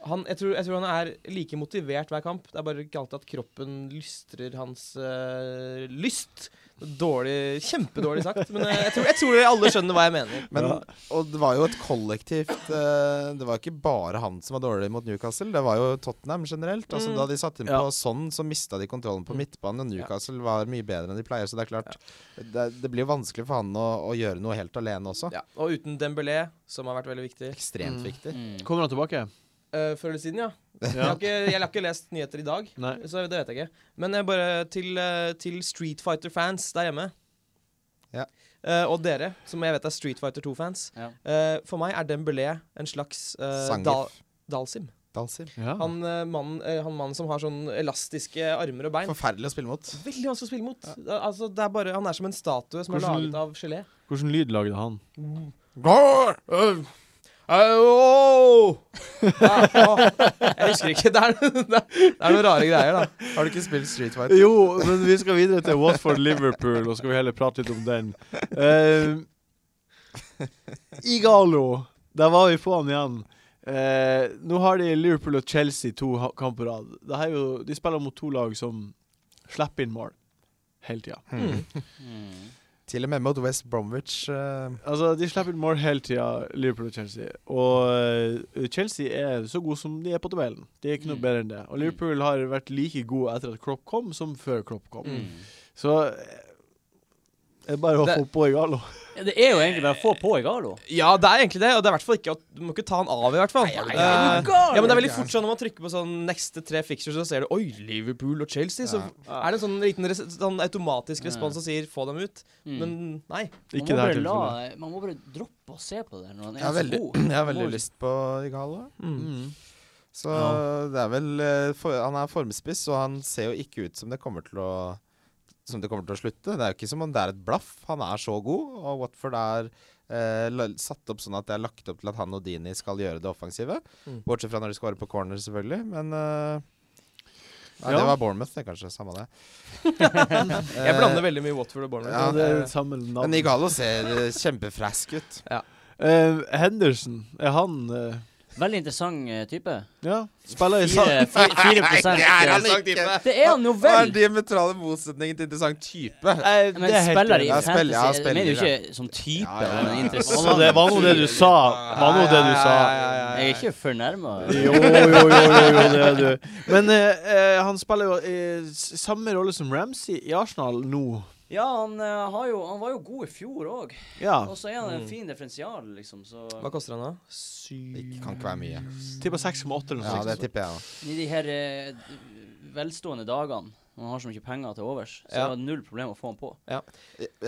D: Han, jeg, tror, jeg tror han er like motivert hver kamp. Det er bare ikke alltid at kroppen lystrer hans eh, lyst. Dårlig, Kjempedårlig sagt, men eh, jeg, tror, jeg tror dere alle skjønner hva jeg mener.
E: Men,
A: Ja.
E: Og det var jo et kollektivt eh, Det var ikke bare han som var dårlig mot Newcastle, det var jo Tottenham generelt. Altså,
D: Mm.
E: Da de satte inn
A: Ja.
E: på sånn, så mista de kontrollen på
D: Mm.
E: midtbanen, og Newcastle var mye bedre enn de pleier. Så det er klart det, det blir jo vanskelig for han å, å gjøre noe helt alene også.
D: Ja. Og uten Dembélé, som har vært veldig viktig.
E: Ekstremt
A: Mm.
E: viktig.
B: Mm.
A: Kommer han tilbake?
D: Eh, før eller siden, ja. Jeg, har ikke, jeg har ikke lest nyheter i dag,
A: Nei.
D: så det vet jeg ikke. Men jeg bare til, eh, til Street Fighter-fans der hjemme.
E: Ja.
D: Eh, og dere, som jeg vet er Street Fighter 2-fans.
B: Ja.
D: Eh, for meg er Dembélé en slags eh,
E: Sangif.
D: dal dalsim.
E: Dalsim.
A: Ja.
D: Han, eh, mannen, eh, han mannen som har sånn elastiske armer og bein.
E: Forferdelig å spille mot.
D: Veldig vanskelig å spille mot. Eh, Altså, det er bare, han er som en statue som er
A: Hvordan-
D: laget av gelé.
A: Hvordan lyd lagde han?
D: Ja, å, jeg husker ikke. Det er, det er- det er noen rare greier, da.
E: Har du ikke spilt Street Fighter?
A: Jo, men vi skal videre til Watford-Liverpool, og skal vi heller prate litt om den. Eh, Igalo. Der var vi på han igjen. Eh, nå har de Liverpool og Chelsea to ha- kamper på rad. Det her er jo- De spiller mot to lag som slipper inn mål hele tida.
E: Mm.
B: Mm.
E: Til og med mot West Bromwich. eh,
A: Altså, de slipper inn mål hele tida, Liverpool og Chelsea. Og eh, Chelsea er så gode som de er på tabellen. De er ikke noe
B: Mm.
A: bedre enn det. Og Liverpool har vært like gode etter at Klopp kom, som før Klopp kom.
D: Mm.
A: Så eh, det er bare å
D: Det-
A: få på Igalo.
B: Ja, Det er jo egentlig bare å få på Igalo.
D: Ja, det er egentlig det, og det er i hvert fall ikke at Du må ikke ta han av, i hvert fall.
E: Nei, nei,
D: Eh,
E: nei.
D: ja, men det er veldig
E: Ja.
D: fort sånn når man trykker på sånn neste tre fixtures, så ser du Oi, Liverpool og Chelsea. Så er det en sånn liten res sånn automatisk
B: Ja.
D: respons som sier få dem ut.
B: Mm.
D: Men nei.
B: Man
A: Ikke det
B: må
A: her
B: bare la-
A: tilfellet.
B: Man må bare droppe å se på det når han
E: Jeg
B: er
E: har
B: så
E: veldig,
B: god.
E: jeg har
B: Man må
E: veldig
B: liksom-
E: lyst på Igalo.
A: Mm.
E: Så
A: Ja.
E: det er vel eh, for, Han er formspiss, og han ser jo ikke ut som det kommer til å Som det kommer til å slutte. Det er jo ikke som om det er et blaff. Han er så god, og Watford er eh, la- satt opp sånn at det er lagt opp til at han og Dini skal gjøre det offensive.
D: Mm.
E: Bortsett fra når de skårer på corner, selvfølgelig, men eh, Nei,
A: Ja.
E: det var Bournemouth, det, kanskje. Samme det.
D: Jeg blander veldig mye Watford og Bournemouth.
A: Ja,
E: Ja,
A: det er
D: Eh,
A: samme navn.
E: Men Igalo ser eh, kjempefresk ut.
A: Eh, Henderson, er han eh,
B: Veldig interessant eh, type.
A: Ja, spiller i sa-
B: Fire, fi- fire prosent.
E: Interessant type.
B: Det er han jo
E: Hva er
B: vel!
E: diametrale motsetningen til interessant type?
A: Eh, det
B: Men
A: er helt
B: spiller i
A: enig.
E: Ja, spiller- ja,
B: fantasy, jeg mener jo
E: spiller,
B: ikke som type.
E: Ja, ja, ja.
B: men interessant.
A: Så det var nå det du sa. Var nå det du sa.
B: Jeg er ikke fornærma.
A: Jo, jo, jo, jo, jo, det er du. Men eh, eh, han spiller jo eh, s- samme rolle som Ramsey i Arsenal nå.
B: Ja, han, eh, har jo, han var jo god i fjor òg.
A: Ja.
B: Og så er han en
D: Mm.
B: fin differensial, liksom, så
D: Hva koster han da?
E: Det kan ikke være mye.
A: Tipper 6,8 eller
E: Ja,
A: noe
E: det
A: sånt.
E: tipper jeg òg.
B: I de her eh, velstående dagene, når man har så mye penger til overs, så
D: Ja.
B: er det null problem å få han på.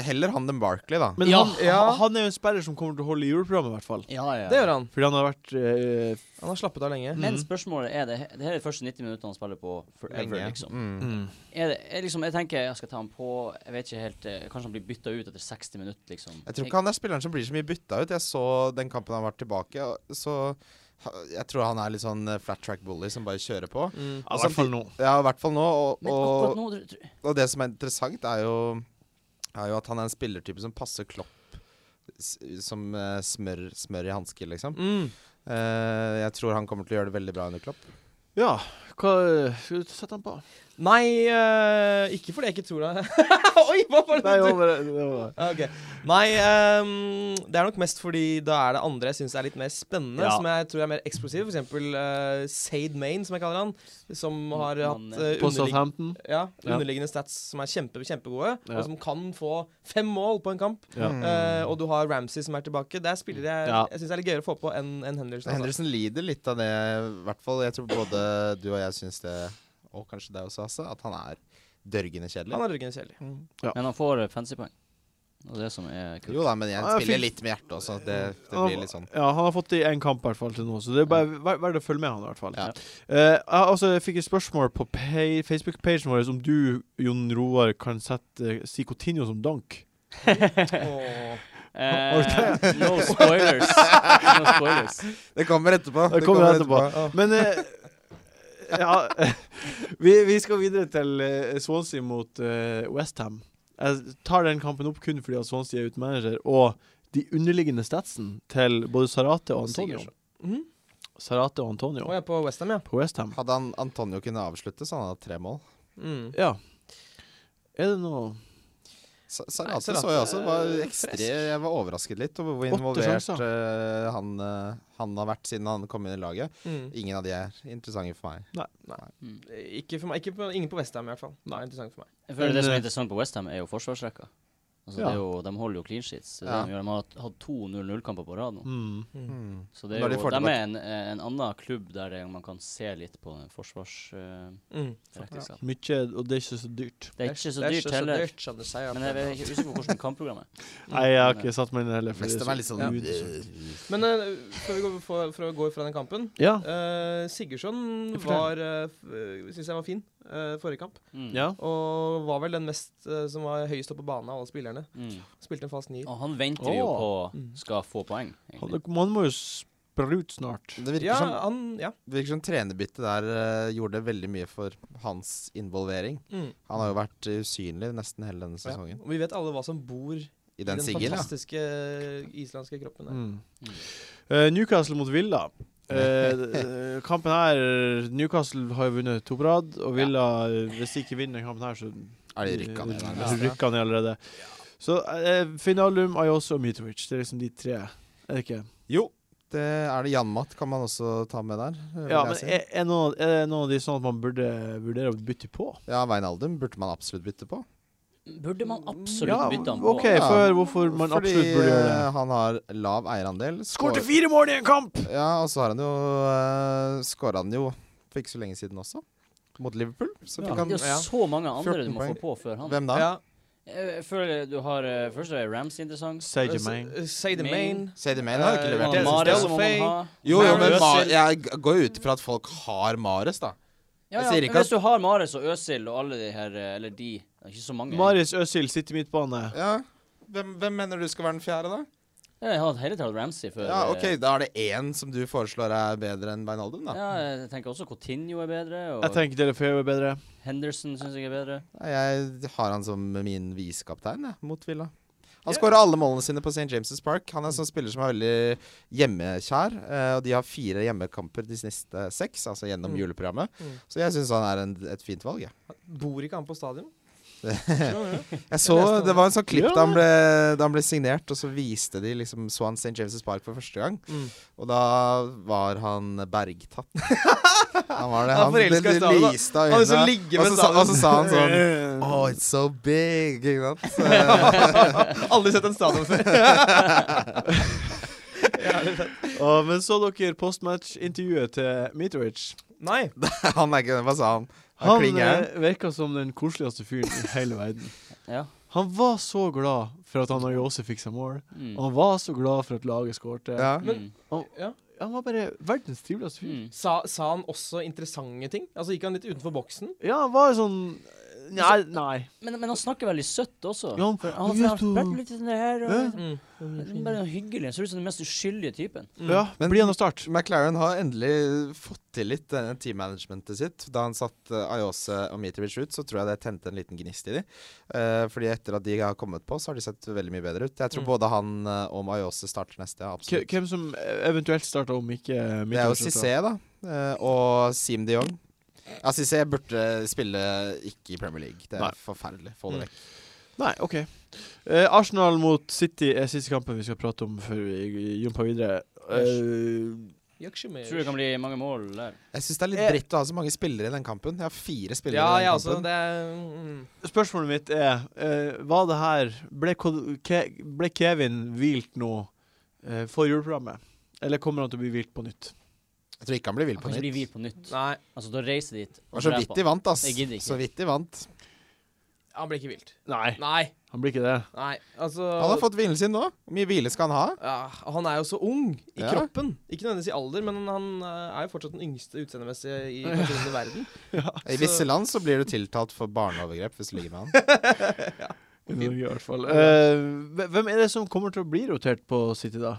E: Heller han enn Barkley, da.
A: Men
B: Ja.
A: han,
D: Ja.
A: han er jo en spiller som kommer til å holde i juleprogrammet, i hvert fall.
B: Ja, ja. Mm.
D: Det gjør han.
A: Fordi han har vært eh,
D: Han har slappet av lenge.
B: Men
A: Mhm.
B: spørsmålet er det Det her er de første 90 minuttene han spiller på forever,
E: Lenge.
B: liksom.
E: Mm.
B: Er det, er liksom. Jeg tenker jeg skal ta han på Jeg vet ikke helt eh, Kanskje han blir bytta ut etter 60 minutter, liksom.
E: Jeg tror ikke han er spilleren som blir så mye bytta ut. Jeg så den kampen han var tilbake, og så ha- Jeg tror han er litt sånn eh, flat track bully som bare kjører på.
D: Mm.
A: ja, I hvert fall nå.
E: Ja, i hvert fall nå. Og,
B: Men akkurat
E: og,
B: nå tr- tr-
E: og det som er interessant, er jo, er jo at han er en spillertype som passer Klopp s- som eh, smør, smør i hanske, liksom.
D: Mm.
E: Eh, jeg tror han kommer til å gjøre det veldig bra under Klopp.
A: Ja, hva skal du sette han på?
D: Nei, eh, ikke fordi jeg ikke tror det. Oi, hva var det
A: Nei,
D: du Ah,
A: over, det var
D: Ok. Nei, ehm, det er nok mest fordi da er det andre jeg syns er litt mer spennende,
A: Ja.
D: som jeg tror er mer eksplosive. For eksempel eh, Sade Main, som jeg kaller han, som har
B: Han,
D: hatt
B: eh,
D: eh,
A: På
D: underlig
A: Southampton.
D: ja,
A: Ja.
D: underliggende stats som er kjempe, kjempegode,
A: Ja.
D: og som kan få fem mål på en kamp.
A: Ja.
E: Mm.
D: Eh, og du har Ramsey som er tilbake. Det er spillere jeg,
A: Ja.
D: jeg syns er litt gøyere å få på enn enn Henderson. Altså.
E: Henderson lider litt av det, i hvert fall. Jeg tror både du og jeg syns det, og kanskje deg også, Hasse, at han er dørgende kjedelig.
D: Han er rødgrønn kjedelig.
E: Mm.
B: Men han får eh, fancy-poeng. Og det er det som er kult.
E: Jo da, men jeg
A: Ja,
E: spiller
A: fint.
E: litt med hjertet også. Det, det blir litt sånn. Mm.
A: Ja, han har fått det i én kamp i hvert fall til nå, så det er bare ver- verdt å følge med han. i hvert fall
E: Ja.
A: Eh, jeg- altså, Jeg fikk et spørsmål på pa- Facebook-pagen vår om du, Jon Roar, kan sette eh, si Coutinho som dank.
B: Eh, no spoilers. No spoilers.
E: Det kommer etterpå.
A: Det kommer etterpå. Men eh, Ja vi, vi skal videre til eh, Swansea mot eh, Westham. Jeg tar den kampen opp kun fordi at Swansea er uten manager, og de underliggende statsen til både Sarate og
B: Og
A: Antonio.
B: Sigurdsson.
D: Mhm.
A: Sarate og Antonio
D: Og jeg er på Westham, ja.
A: på Westham.
E: Hadde han Antonio kunnet avslutte, så hadde han hatt tre mål.
D: Mm.
A: Ja. Er det noe
E: Sa-
D: Nei,
E: Sarate
D: Sarate
E: så jeg også. Var
D: er
E: ekstre,
D: frisk.
E: jeg var overrasket litt over hvor
A: Åtte
E: involvert
A: sjanser.
E: eh, han, eh, han har vært siden han kom inn i laget.
D: Mm.
E: Ingen av de er interessante for meg.
B: Mm.
D: Ikke for meg, ikke på, ingen på Westham i hvert fall. Det er interessant for meg.
B: Jeg føler
A: Men,
B: Det som
A: eh,
B: er interessant på Westham, er jo forsvarsrekka. Altså,
A: Ja.
B: det er jo, de holder jo clean sheets. Det er
E: Ja.
B: det De, gjør. de har hatt- hatt to 0-0-kamper på rad nå.
A: mm.
E: Mm.
B: Så det er
E: Når de
B: jo,
E: får
B: de
E: tilbake-
B: er en, eh, en annen klubb der det, man kan se litt på den forsvarsrekka.
D: Mm.
A: Mye, og det er ikke så dyrt.
B: Det er ikke så dyrt heller.
D: dyrt, skjønner seg, ja.
B: Men jeg er ikke usikker på hvordan kampprogrammet er.
A: Nei, jeg har ikke satt meg inn i det heller. fordi det
E: Westham
A: så
E: er litt sånn
A: ut-
D: Men eh, før vi går for, for å gå fra den kampen
A: Ja.
D: eh, Sigurdsson
A: Fortell.
D: var uh, syns jeg var fin eh, forrige kamp.
B: Mm.
A: ja.
D: Og var vel den mest eh, som var høyest oppe på banen av alle spillerne.
B: Mm.
D: Spilte en falsk nier.
B: Og han venter vi jo
A: Åh.
B: på
D: Mm.
B: skal få poeng.
A: Han,
B: egentlig.
A: man må jo sprute snart.
E: Det virker
D: Ja,
E: som
D: han Ja.
E: Det virker som trenerbyttet der eh, gjorde veldig mye for hans involvering.
D: Mm.
E: Han har jo vært eh, usynlig nesten hele denne
D: ja.
E: sesongen.
D: Og vi vet alle hva som bor i
E: I
D: den
E: den siggen, ja.
D: fantastiske islandske kroppen. Der.
A: Mm. Eh, Newcastle mot Villa. Eh, d- kampen her Newcastle har jo vunnet to på rad, og Villa, eh, hvis de ikke vinner den kampen her, så
E: er de rykka ned altså. der.
A: Ja. Rykka ned allerede. Så eh, Finalum, Ayos og Mitrovic. Det er liksom de tre. Er det ikke?
E: Jo, det er det Janmat kan man også ta med der. vil
A: Ja,
E: jeg
A: men
E: si.
A: er, er, noen, er det noen av de sånn at man burde vurdere å bytte på?
E: ja, Veinaldum burde man absolutt bytte på.
B: Burde man absolutt
A: Ja,
B: bytte han på?
A: OK,
E: Ja.
A: for hvorfor man
E: Fordi
A: absolutt burde gjøre
E: eh,
A: det.
E: han har lav eierandel.
A: Skårte
E: Skår-
A: fire mål i en kamp!
E: Ja, og så har han jo uh, Skåra han jo for ikke så lenge siden også, mot Liverpool.
A: Ja.
E: Så fikk han
B: Det er jo så mange andre du
E: 14
B: må få
E: poeng.
B: på før han.
E: Hvem da?
D: Ja.
B: Jeg jeg føler du har eh, Først er Rams interessant.
A: Sier ikke meg.
D: Say the main.
E: Sadie Maine har ikke
D: Eh,
E: levert.
D: det-
B: Mare
E: det
B: som må man ha.
E: jo, jo, men
B: Mares.
E: Ma jeg g- går jo ut ifra at folk har Mares, da.
B: Ja,
E: Jeg
B: ja.
E: sier
B: men
E: ikke
B: Hvis du har Mares og Øsil og alle de her eh, Eller de. Det er ikke så mange.
A: Marius Øzil sitter i midtbane.
E: Ja. Hvem, hvem mener du skal være den fjerde, da?
B: Ja, Jeg har hele tatt Ramsey før.
E: Ja,
B: eh,
E: ok, Da er det én som du foreslår er bedre enn Veinaldum, da.
B: Ja, jeg tenker også Coutinho er bedre,
A: Jeg
B: og
A: tenker Delefeu er bedre.
B: Henderson syns jeg er bedre.
E: Jeg har han som min visekaptein jeg, mot Villa. Han skårer alle målene sine på St. James' Park. Han er en sånn spiller som er veldig hjemmekjær. eh, Og de har fire hjemmekamper de neste seks, altså gjennom
D: Mm.
E: juleprogrammet.
D: Mm.
E: Så jeg syns han er en, et fint valg, jeg.
D: Bor ikke han på stadion?
E: jeg så,
D: leste om
E: det var en sånn klipp
A: Ja.
E: da, han ble, da han ble signert, og så viste de liksom Så han St. James' Park for første gang.
D: Mm.
E: Og da var han bergtatt. han var det.
D: Han
E: Han,
D: forelsket
E: det
D: i stadion, da.
E: lyste av
D: Han liksom
E: øynene.
D: ligger
E: Og
D: med
E: så sa-
D: stadion.
E: og så sa han sånn Oh, it's so big! Ikke sant? Så-
D: Aldri sett en stadion før.
A: Og, men så dere postmatch-intervjuet til Mitrovic.
D: Nei.
E: Han er ikke Hva sa han? Han,
A: Han
E: klinger
A: eh, virka som den koseligste fyren i hele verden.
B: Ja.
A: Han var så glad for at han og Jose fikk seg mål.
B: Mm.
A: Og han var så glad for at laget skårte.
E: Ja.
B: Mm.
A: Han var bare verdens triveligste fyr.
B: Mm.
D: Sa, sa han også interessante ting? Altså Gikk han litt utenfor boksen?
A: Ja, han var jo sånn Nei. nei.
B: Men, men han snakker veldig søtt også.
A: Ja, han-
B: For
A: han
B: han han har
A: vet jo-
B: vært litt sånn det her og
A: Hæ?
D: Mm.
B: liksom, Bare noe hyggelig. Han Ser ut som den mest uskyldige typen.
A: Mm. Ja,
E: Men-
A: Blir han å starte?
E: McLaren har endelig fått til litt denne teammanagementet sitt. Da han satt eh, Ayose og Mitrovic ut, så tror jeg det tente en liten gnist i de. Eh, fordi etter at de har kommet på, så har de sett veldig mye bedre ut. Jeg tror
D: Mm.
E: både han eh, og Ayose starter neste.
A: K-
E: Ja, absolutt.
A: Hvem som eh, eventuelt starta om ikke eh,
E: Det er jo
A: Mitrovic også.
E: Cissé, da. eh, og Seam de Jong. Ja, Cissé burde spille ikke i Premier League. Det er
A: Nei.
E: forferdelig. Få det
D: Mm.
E: vekk.
A: Nei, OK. Eh, Arsenal mot City er siste kampen vi skal prate om før vi jumper videre. Eh,
B: Tror det kan bli mange mål der.
E: Jeg syns det er litt
A: Eh.
E: dritt å ha så mange spillere i den kampen. Jeg har fire spillere
D: Ja,
E: i
D: jeg
E: den
D: også.
E: kampen.
D: Det er mm.
A: spørsmålet mitt er eh, Var det her Ble, Ko- Ke ble Kevin hvilt nå eh, for juleprogrammet? Eller kommer han til å bli hvilt på nytt?
E: Jeg tror ikke han blir vill
B: Han
E: på
B: kan ikke bli
E: nytt.
B: hvilt på nytt.
D: Nei,
B: Altså, da reiser de dit.
E: Det var så
B: dreper
E: vidt de vant, ass.
B: Jeg gidder ikke.
E: Så vidt de vant.
D: han blir ikke vilt.
A: Nei,
D: Nei.
A: han blir ikke det.
D: Nei. Altså
E: Han har fått hvilen sin nå. Hvor mye hvile skal han ha?
D: ja, Han er jo så ung i
E: Ja.
D: kroppen. Ikke nødvendigvis i alder, men han eh, er jo fortsatt den yngste utseendemessige i personen i verden.
E: I
D: Så-
E: visse land så blir du tiltalt for barneovergrep hvis du ligger med han.
A: I Norge, i hvert fall. Eh, hve- hvem er det som kommer til å bli rotert på City, da?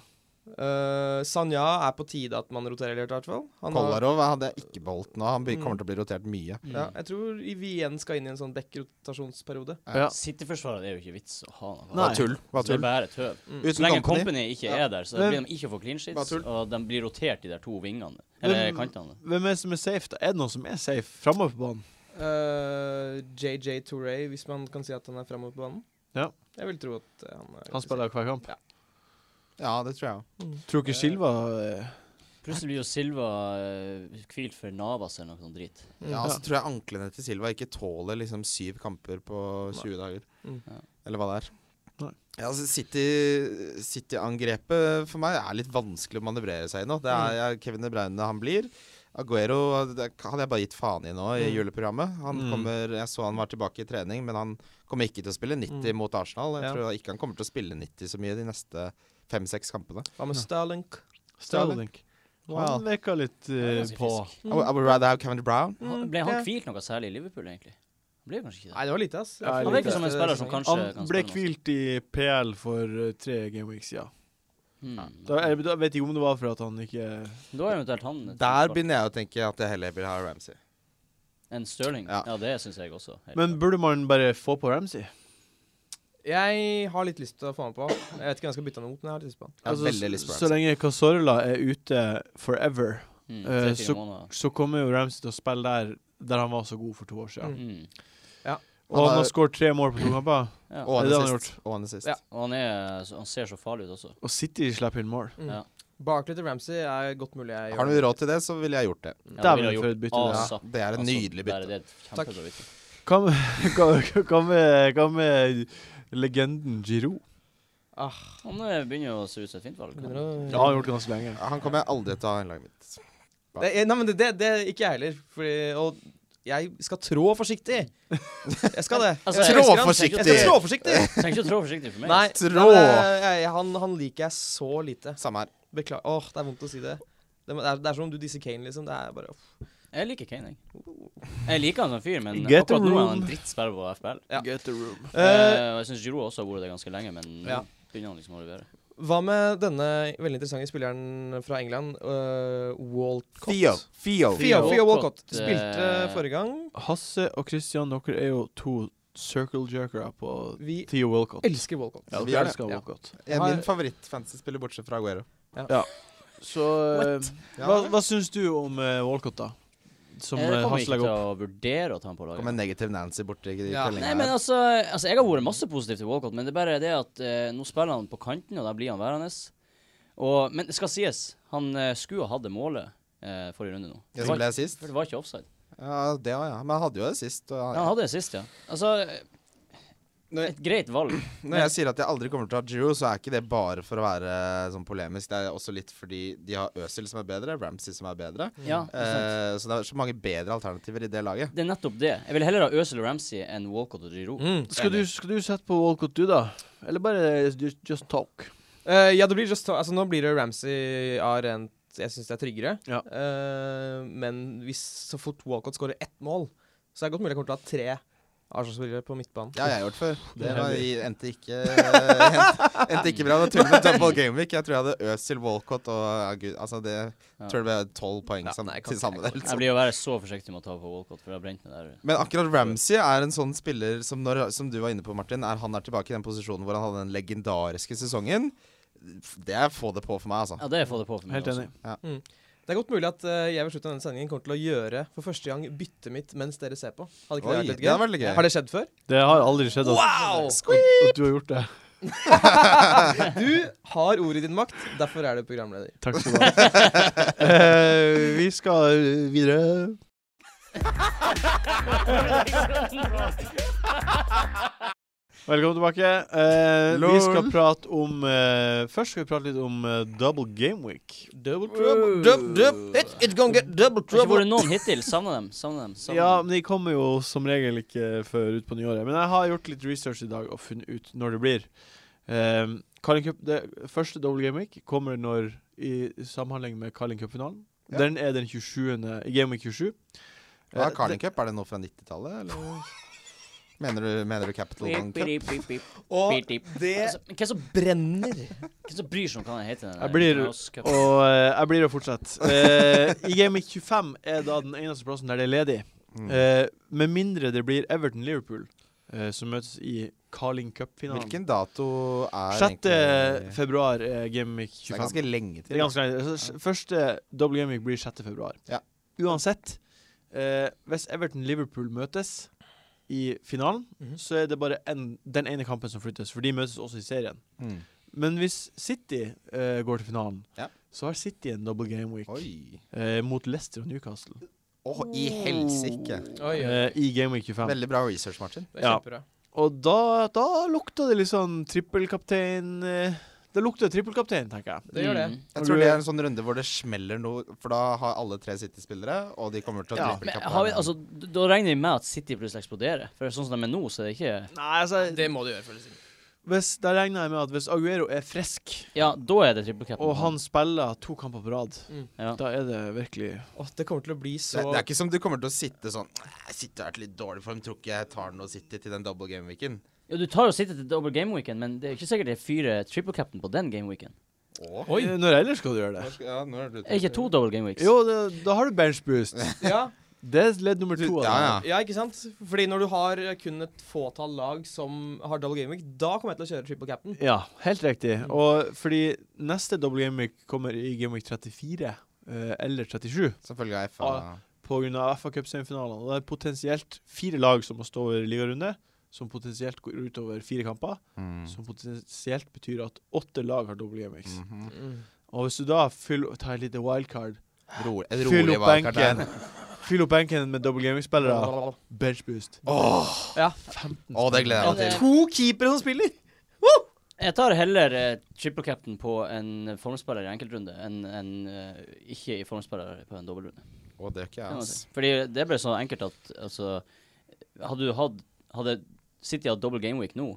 D: Eh, Sanja er på tide at man roterer litt, i hvert fall. Han har-
E: Kolarov hadde jeg ikke beholdt nå. Han blir- kommer til å bli rotert mye.
B: Mm.
D: Ja, jeg tror Vien skal inn i en sånn dekkrotasjonsperiode.
A: Ja.
B: City-forsvaret det er jo ikke vits å ha noe.
A: Nei.
E: Bare tull. Bare
B: Så det er
E: tull.
B: bare tøv. Så
E: Uten
B: lenge
E: company.
B: Company ikke
E: Ja.
B: er der, så
A: Men-
B: blir de ikke å få clean
E: Bare
B: sheets,
E: tull.
B: og de blir rotert, de der to vingene. Eller
A: Men-
B: kantene.
A: Hvem er det som er safe? da? Er det noen som er safe framover på banen?
D: Eh, JJ Touré, hvis man kan si at han er framover på banen.
A: Ja.
D: Jeg vil tro at eh, han er
A: Han spiller hver kamp.
E: Ja, det tror jeg òg.
B: Mm.
A: Tror ikke Silva eh,
B: Plutselig blir jo Silva eh, hvilt for Navas eller noe sånt drit.
A: Ja.
E: Ja, så tror jeg anklene til Silva ikke tåler liksom syv kamper på 20 dager.
D: Mm.
B: Ja.
E: Eller hva det er.
A: Nei.
E: Ja, altså City- City-angrepet for meg er litt vanskelig å manøvrere seg i nå. Det er ja, Kevin De Bruyne han blir. Aguero det hadde jeg bare gitt faen i nå i
D: Mm.
E: juleprogrammet. Han
A: Mm.
E: kommer, jeg så han var tilbake i trening, men han kommer ikke til å spille 90
D: Mm.
E: mot Arsenal. Jeg
D: Ja.
E: tror ikke han kommer til å spille 90 så mye de neste fem-seks kampene.
D: Hva med Starlink?
A: Starlink.
E: Wow.
A: Han virka litt eh,
B: ganske
A: på.
B: frisk.
E: I would- I would rather have Kevin De Bruyne.
B: Han-
D: Mm,
B: Ble han hvilt noe særlig i Liverpool, egentlig? Han ble jo kanskje ikke det.
D: Nei, det var lite, ass.
A: Ja,
D: Jeg
A: Han
B: Han
A: virker
B: virker
D: følte
B: som en
D: det
B: spiller som
D: sesongen.
B: kanskje
A: Han ble hvilt i PL for eh, tre gameweeks siden. Da,
B: Da,
A: jeg, da vet jeg ikke om det var for at han ikke
B: Hmm. er eventuelt han et
E: Der
B: forsvar.
E: begynner jeg å tenke at jeg heller vil ha Ramsey.
B: En Stirling.
E: Ja.
B: Ja, det syns jeg også. helt
A: Men
B: klart.
A: burde man bare få på Ramsey?
D: Jeg har litt lyst til å få han på. Jeg vet ikke hvem jeg skal bytte han mot, men jeg har litt lyst på han.
E: Jeg har
A: Altså,
E: veldig lyst på
A: så,
E: Ramsey.
A: så lenge Casorla er ute forever,
B: mm,
A: eh,
B: tre-fire
A: så-
B: måneder.
A: så kommer jo Ramsey til å spille der der han var så god for to år siden.
B: Mm.
A: Og han
E: har-
A: har skåret tre mål på to kamper.
B: Hmm. Ja.
E: Og
A: Det er
E: han
A: det han
E: er
A: har
E: sist. Og han er sist.
D: Ja.
B: Og han, er, så- han ser så farlig ut også.
A: Og City slipper inn mål.
D: Mm.
B: Ja.
D: Barkley til Ramsey er godt mulig jeg
E: Har du råd til det, så ville jeg gjort det.
B: Ja,
A: Dæven,
B: ville jeg
A: for
B: gjort
A: et bytte det er.
B: ASAP.
E: Det er et
B: Altså,
E: nydelig
B: der er
E: bytte.
B: Det er et kjempebra bytte.
A: Hva med- hva- Hva med- hva med legenden Giroud?
B: Han eh, begynner jo å se ut som et fint valg.
D: Begynner å-
A: Ja, han har gjort det ganske lenge.
E: Han kommer jeg aldri til å ha i laget mitt.
D: det, Nei, men det, det, det er ikke jeg heller. Fordi, og jeg skal trå forsiktig. Jeg skal det.
B: Altså,
D: jeg
B: trå
D: elsker han. Jeg
E: forsiktig.
D: skal trå forsiktig!
B: Trenger ikke å trå forsiktig for meg.
D: Nei,
E: Trå.
D: nei, men jeg- jeg- han, han liker jeg så lite.
E: Samme her.
D: Beklager. Åh, det er vondt å si det. Det er, det er som om du disser Kane, liksom. Det er bare uff.
B: Jeg liker Kane, jeg. Jeg liker han som fyr, men
A: Get a
B: akkurat nå er
A: room.
B: han en drittsperre på FBL.
D: Ja.
A: Get the room.
D: Eh,
B: Eh, og jeg syns Giroud også har vært det ganske lenge, men nå
D: Ja.
B: begynner han liksom å levere.
D: Hva med denne veldig interessante spilleren fra England, øh, Walcott?
E: Theo. Theo.
D: Theo, Theo Walcott.
B: Walcott,
D: Spilte
B: eh,
D: forrige gang.
A: Hasse og Christian, dere er jo to circle jerkere på
D: Vi
A: Theo Wilcott.
D: elsker Walcott.
A: Ja,
E: Vi gjør
A: dere
E: det.
A: elsker
D: Ja.
A: Wilcott.
E: Er min favoritt-fantasy-spiller, bortsett fra Aguero.
A: Så eh, hva, hva syns du om eh, Walcott, da? Som
B: Eh,
A: eh,
B: jeg kommer
A: Hasse
B: ikke
A: legger
B: til
A: opp.
B: å vurdere å ta han på
E: Kom en
B: laget.
E: negativ Nancy borti
D: Ja.
E: kvellinga
B: Nei, men
E: her.
B: altså, altså Jeg har vært masse positiv til Walcott, men det er bare det at eh, nå spiller han på kanten, og der blir han værende. Og, men det skal sies, han eh, skulle ha hatt det målet eh, forrige runde nå.
E: Jeg
B: Det var,
E: som ble sist.
B: for det var ikke offside.
E: Ja, det var ja. Men han hadde jo det sist. Og
B: Ja, han hadde det sist, ja. Altså, eh,
E: Når jeg-
B: et greit valg.
E: Når jeg sier at jeg aldri kommer til å ha Giroud, så er ikke det bare for å være sånn polemisk. Det er også litt fordi de har Øzil som er bedre, Ramsey som er bedre.
B: Ja, ikke sant.
E: Eh, så det er så mange bedre alternativer i det laget.
B: Det er nettopp det. Jeg vil heller ha Øzil og Ramsey enn Walcott og Giroud.
D: Mm.
A: Skal du, skal du sette på Walcott, du, da? Eller bare eh, just, just talk?
D: Eh, ja, det blir just, altså, nå blir det Ramsey av rent Jeg syns det er tryggere.
A: Ja.
D: Eh, men hvis så fort Walcott skårer ett mål, så er det godt mulig jeg kommer til å ha tre Arsenal-spillere på midtbanen.
E: Det har jeg gjort før. Det
A: Det
E: var,
A: er
E: endte, ikke, eh, endte, endte ikke bra. Det var til og med double game week. Jeg tror jeg hadde Øzil, Walcott og ja, gud, Altså, det
B: Ja.
E: tror jeg ble tolv poeng
D: Ja,
E: sam-
D: nei, jeg kan
E: til
D: ikke- jeg
E: sammen.
D: kan
E: eller
B: Jeg
E: sånn.
B: blir jo være så forsiktig med å ta på Walcott, for jeg har brent meg der.
E: Men akkurat Ramsey er en sånn spiller som, når, som du var inne på, Martin, er han er tilbake i den posisjonen hvor han hadde den legendariske sesongen. Det er få det på for meg, altså.
B: Ja, det får det på for meg.
A: Helt enig.
D: Det er godt mulig at eh, jeg ved slutten av denne sendingen kommer til å gjøre for første gang byttet mitt mens dere ser på. Hadde ikke
E: Oi,
D: det vært litt
E: det
D: gøy?
E: hadde vært litt gøy.
D: Har det skjedd før?
A: Det har aldri skjedd at, at, at du har gjort det.
D: Du har ordet i din makt, derfor er du programleder.
A: Takk skal du ha. Eh, vi skal videre. Velkommen tilbake. Eh, vi
E: Lol.
A: skal prate om eh, Først skal vi prate litt om eh, double game week.
D: Double
A: trouble, dub, dub,
D: It's, gonna get double
B: Det har ikke vært noen hittil. Savner dem. Savner dem. Savner
A: Ja,
B: dem.
A: men De kommer jo som regel ikke før utpå nyåret. Men jeg har gjort litt research i dag og funnet ut når det blir. Eh, Carling Cup, det første double game week kommer når i samhandling med Carling Cup-finalen.
E: Ja.
A: Den er den 27. i Game Week 27.
E: Hva
A: Eh,
E: er Carling Cup? Er det noe fra 90-tallet, eller? Mener du, mener du Capital One Cup?
B: Beep, beep, beep, beep, beep,
D: Og
B: beep.
D: det
B: Altså, men hvem som,
D: brenner.
B: hvem som bryr seg om hva den heter? Den
A: Jeg blir-
B: der Mouse Cup?
A: Og eh, jeg blir å fortsette. Eh, I Game Week 25 er da den eneste plassen der det er ledig.
E: Mm.
A: Eh, med mindre det blir Everton-Liverpool, eh, som møtes i Carling Cup-finalen.
E: Hvilken dato er
A: 6.
E: egentlig-
A: februar er Game Week
E: Så Det
A: 25.
E: er ganske lenge
A: Det er
E: til.
A: ganske lenge. Så s- Første double game week blir 6. februar.
E: Ja.
A: Uansett, eh, hvis Everton-Liverpool møtes i finalen,
D: Mhm.
A: så er det bare en, den ene kampen som flyttes, for de møtes også i serien.
E: Mm.
A: Men hvis City eh, går til finalen,
E: Ja.
A: så har City en double game week
E: Oi.
A: eh, mot Leicester og Newcastle
E: Å, i helsike.
D: Oi, oi.
A: eh, i game week 25.
E: Veldig bra research, Martin.
D: Det er
A: Ja.
D: kjempebra.
A: Og da, da lukta det litt sånn trippelkaptein eh, Det lukter trippelkaptein, tenker jeg.
D: Det gjør det.
B: Mm.
E: Jeg tror det er en sånn runde hvor det smeller noe, for da har alle tre City-spillere, og de kommer til å
A: Ja.
E: drible
B: Men
E: kappen.
B: har vi, altså, d- da regner jeg med at City plutselig eksploderer. For sånn som de er nå, så er det ikke
A: Nei, altså
D: Det må du gjøre, føles det.
A: hvis, Da regner jeg med at hvis Aguero er frisk
B: Ja, da er det triple cap.
A: Og han spiller to kamper på rad.
E: Mm.
B: ja.
A: Da er det virkelig
D: Åh, det kommer til å bli så
E: det, det er ikke som du kommer til å sitte sånn «Nei, Jeg sitter her til litt dårlig form, tror ikke jeg tar noe City til den double game-weeken.
B: ja, Du tar jo City til double game weekend, men det er ikke sikkert det er fire triple cap'n på den game weekend.
E: Åh.
D: Oi.
A: Eh, Når ellers skal du gjøre det?
E: Ja, nå er det
B: Er det ikke to double game weeks?
A: Jo, det, da har du bench boost.
D: Ja,
A: Det er ledd nummer to. av
E: Ja, ja.
A: det.
D: ja, ikke sant? Fordi når du har kun et fåtall lag som har double gaming, da kommer jeg til å kjøre triple cap'n.
A: ja, helt riktig. Og fordi neste double game week kommer i game week 34 eh, eller 37
E: Selvfølgelig er jeg fra
A: På pga. FA Cup-semifinalene. Og Det er potensielt fire lag som må stå over ligarunde, som potensielt går ut over fire kamper.
E: Hmm. Mm.
A: Som potensielt betyr at åtte lag har double gameweeks.
E: Mhm.
A: Og hvis du da fyller, tar et lite wildcard,
E: Rolig, en rolig
A: fyll opp
E: wildcard der.
A: benken Fyll opp benken med double gameweek-spillere, bench boost.
E: Åh,
D: Ja.
E: åh, det gleder jeg meg
B: Ja, det-
E: til.
A: To keepere som spiller!
B: Jeg tar heller eh, triple captain på en formspiller i enkeltrunde enn en, eh, ikke i formspiller på en dobbeltrunde.
E: Åh, det gjør ikke
B: Det
E: jeg,
B: må jeg
E: ass.
B: si. Fordi det ble så enkelt at altså Hadde du hatt Hadde City hatt double gameweek nå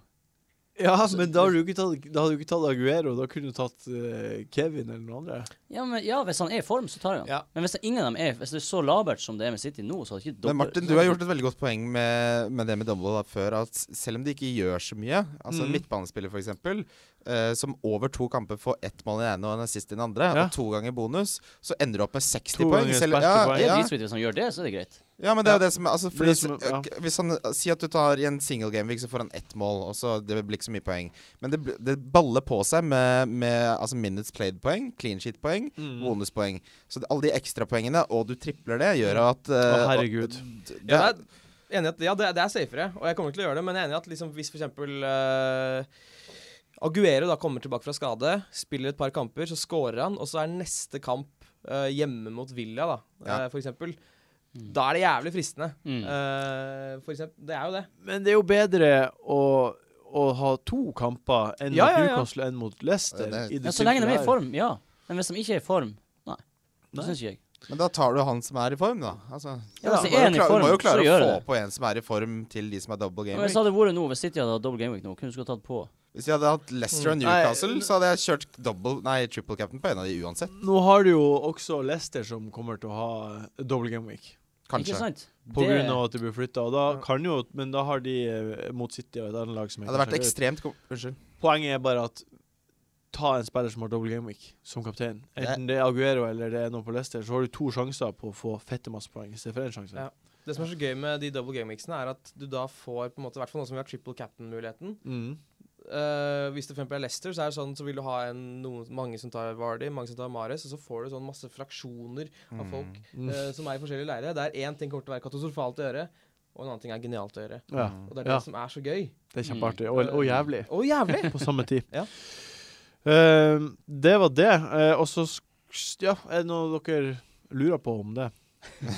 A: Ja, men da hadde du ikke tatt, da hadde du ikke tatt Aguero. Da kunne du tatt eh, Kevin eller noen andre.
B: ja, men, ja, hvis han er i form, så tar jeg han.
A: Ja.
B: Men hvis det, ingen av dem er Hvis det er så labert som det er med City nå, så hadde ikke
E: Men Martin, du har gjort et veldig godt poeng med, med det med Dumble da, før. At s- selv om de ikke gjør så mye, altså en
A: Mhm.
E: midtbanespiller f.eks., eh, som over to kamper får ett mål i den ene og en assist i den andre,
A: Ja.
E: og to ganger bonus, så ender du opp med 60
A: To
E: poeng.
A: ganger
E: Selv, ja,
A: sparkepoeng.
B: Det er
E: ja,
B: dritfint hvis han gjør det, så er det greit.
E: ja, men det er jo det som altså, fordi,
A: Det som-
E: s-
A: ja.
E: ok, Hvis han Si at du tar i en single game-week, så får han ett mål, og så det blir ikke så mye poeng. Men det, bl- det baller på seg med, med altså minutes played-poeng, clean sheet-poeng,
A: Mm.
E: bonuspoeng. Så det- alle de ekstrapoengene, og du tripler det, gjør at eh,
A: Mm. Å,
E: at-
A: herregud.
E: d- det
D: Ja,
E: er-
D: det er, enig i at, ja det, det er safere, og jeg kommer til å gjøre det, men jeg er enig i at liksom, hvis for eksempel eh, Aguero da kommer tilbake fra skade, spiller et par kamper, så scorer han, og så er neste kamp eh, hjemme mot Villa, da,
E: Ja.
D: eh, for eksempel.
B: Mm.
D: Da er det jævlig fristende.
B: Mm.
D: Eh, for eksempel, det er jo det.
A: Men det er jo bedre å, å ha to kamper enn
D: Ja,
A: mot
D: ja, ja.
A: Newcastle enn mot Leicester.
E: Ja, det er-
A: i det
B: Ja, så lenge de er i
A: tilfellet
B: form, ja. Men hvis de ikke er i form, nei.
A: Nei.
B: Det syns ikke jeg.
E: Men da tar du han som er i form, da. Altså,
B: Ja, hvis
E: du,
B: det er
E: må jo
B: en i
E: klare-
B: form,
E: du må jo
B: så
E: klare å
B: gjør
E: få
B: det.
E: på en som er i form, til de som er double
B: Men hvis
E: gaming.
B: det hadde vært nå, hvis City hadde hatt double gameweek nå, kunne du skulle tatt på
E: Hvis jeg hadde hatt Leicester og
A: Mm.
E: Newcastle,
A: Nei,
E: så hadde jeg kjørt double, nei, triple captain på en av de uansett.
A: her. Nå har du jo også Leicester som kommer til å ha eh, double game week.
B: Ikke
E: Kanskje.
B: sant?
A: På
B: Det-
A: grunn av at de blir flytta. Men da har de eh, mot City og et annet lag som
E: Det
A: er
E: hadde vært
A: kanskje-
E: ekstremt kom Unnskyld.
A: Poenget er bare at ta en spiller som har double game week, som kaptein. Enten det er Aguero eller det er noen på Leicester, så har du to sjanser på å få fette masse poeng i stedet for én sjanse.
D: Ja. Det som er så gøy med de double game-mixene, er at du da får på en måte, i hvert fall nå som vi har triple captain-muligheten
A: Mm.
D: Eh, Hvis det for eksempel er Leicester, så er det sånn Så vil du ha en, noen, mange som tar Vardy, mange som tar Mares, og så får du sånn masse fraksjoner av folk
A: Mm.
D: eh, som er i forskjellige leirer, der én ting kommer til å være katastrofalt å gjøre, og en annen ting er genialt å gjøre.
A: Ja,
E: Mm.
D: Og det er det
A: Ja.
D: som er så gøy.
A: det er kjempeartig. Og, og jævlig.
D: Å, jævlig!
A: på samme tid.
D: mm. Ja.
A: Eh, det var det. Eh, og så sk- Ja, er det noe dere lurer på om det?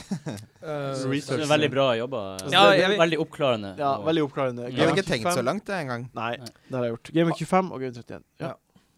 D: Eh,
A: Research.
B: Det er Veldig bra jobba.
D: Ja,
B: Det er
D: jeg-
B: veldig oppklarende.
A: Ja,
B: og-
A: veldig oppklarende.
E: Jeg hadde
A: Game
E: ikke tenkt så
A: 25.
E: langt det engang.
A: Nei, det har jeg gjort. Game 25 og Game 31. Ja,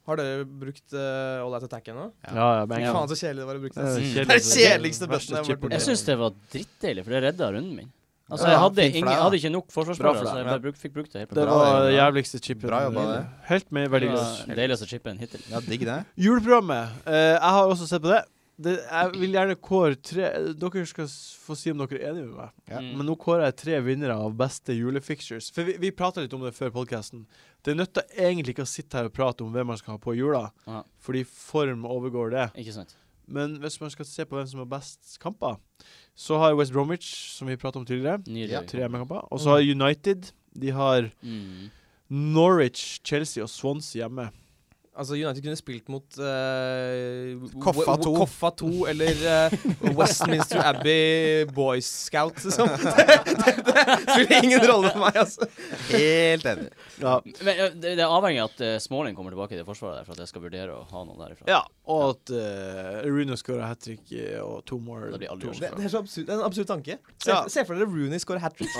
D: har dere brukt eh, All Out Attack ennå?
E: Ja.
A: ja, ja
D: Fy
A: men
D: faen, så kjedelig det var å bruke
A: Det
E: Eh.
A: er
D: det.
A: kjedelig.
D: Det er kjedeligste button jeg har vært borti.
B: Jeg syns det var drittdeilig, for det redda runden min. Altså, jeg
E: Ja,
B: hadde,
E: fint for
B: ingen, jeg
E: deg, da.
B: hadde ikke nok
A: Bra
B: forsvarsspillere,
A: for
B: så
A: deg,
B: jeg bare bruk, fikk brukt det helt på
A: Det
E: Bra,
A: var
E: det,
A: det
E: bra.
A: jævligste chipen.
E: Bra jobba, det.
A: Helt med
B: Det
A: veldig
B: var
A: glad.
B: den deiligste chipen hittil.
E: Ja, digg det.
A: Juleprogrammet. Eh, jeg har også sett på det. det. Jeg vil gjerne kåre tre Dere skal s- få si om dere er enige med meg.
E: Ja,
B: Mm.
A: Men nå kårer jeg tre vinnere av beste julefixtures. For vi, vi prata litt om det før podkasten. Det nytter egentlig ikke å sitte her og prate om hvem man skal ha på i jula,
B: Ja.
A: fordi form overgår det.
B: Ikke sant.
A: Men hvis man skal se på hvem som har best kamper, så har West Bromwich, som vi prata om tidligere,
E: Ja.
B: Nydelig.
A: tre hjemmekamper. Og så har United De har
B: Mm.
A: Norwich, Chelsea og Swansea hjemme.
D: Altså, United kunne spilt mot eh,
E: Koffa
D: Wo-
E: 2.
D: Koffa 2 eller eh, Westminster Abbey Boys Scout. Liksom. Det, det, det spiller ingen rolle for meg, altså.
E: Helt enig.
A: Ja,
B: Men eh, det, det er avhengig av at eh, Smalling kommer tilbake til forsvaret der, for at jeg skal vurdere å ha noen derifra.
A: Ja, og at uh, Rooney skårer hat trick eh, og to more.
B: Det blir aldri
A: to-
B: gjort.
D: Det, det er så absurd, det er en absurd tanke. Se,
A: Ja.
D: se for dere Rooney score hat trick.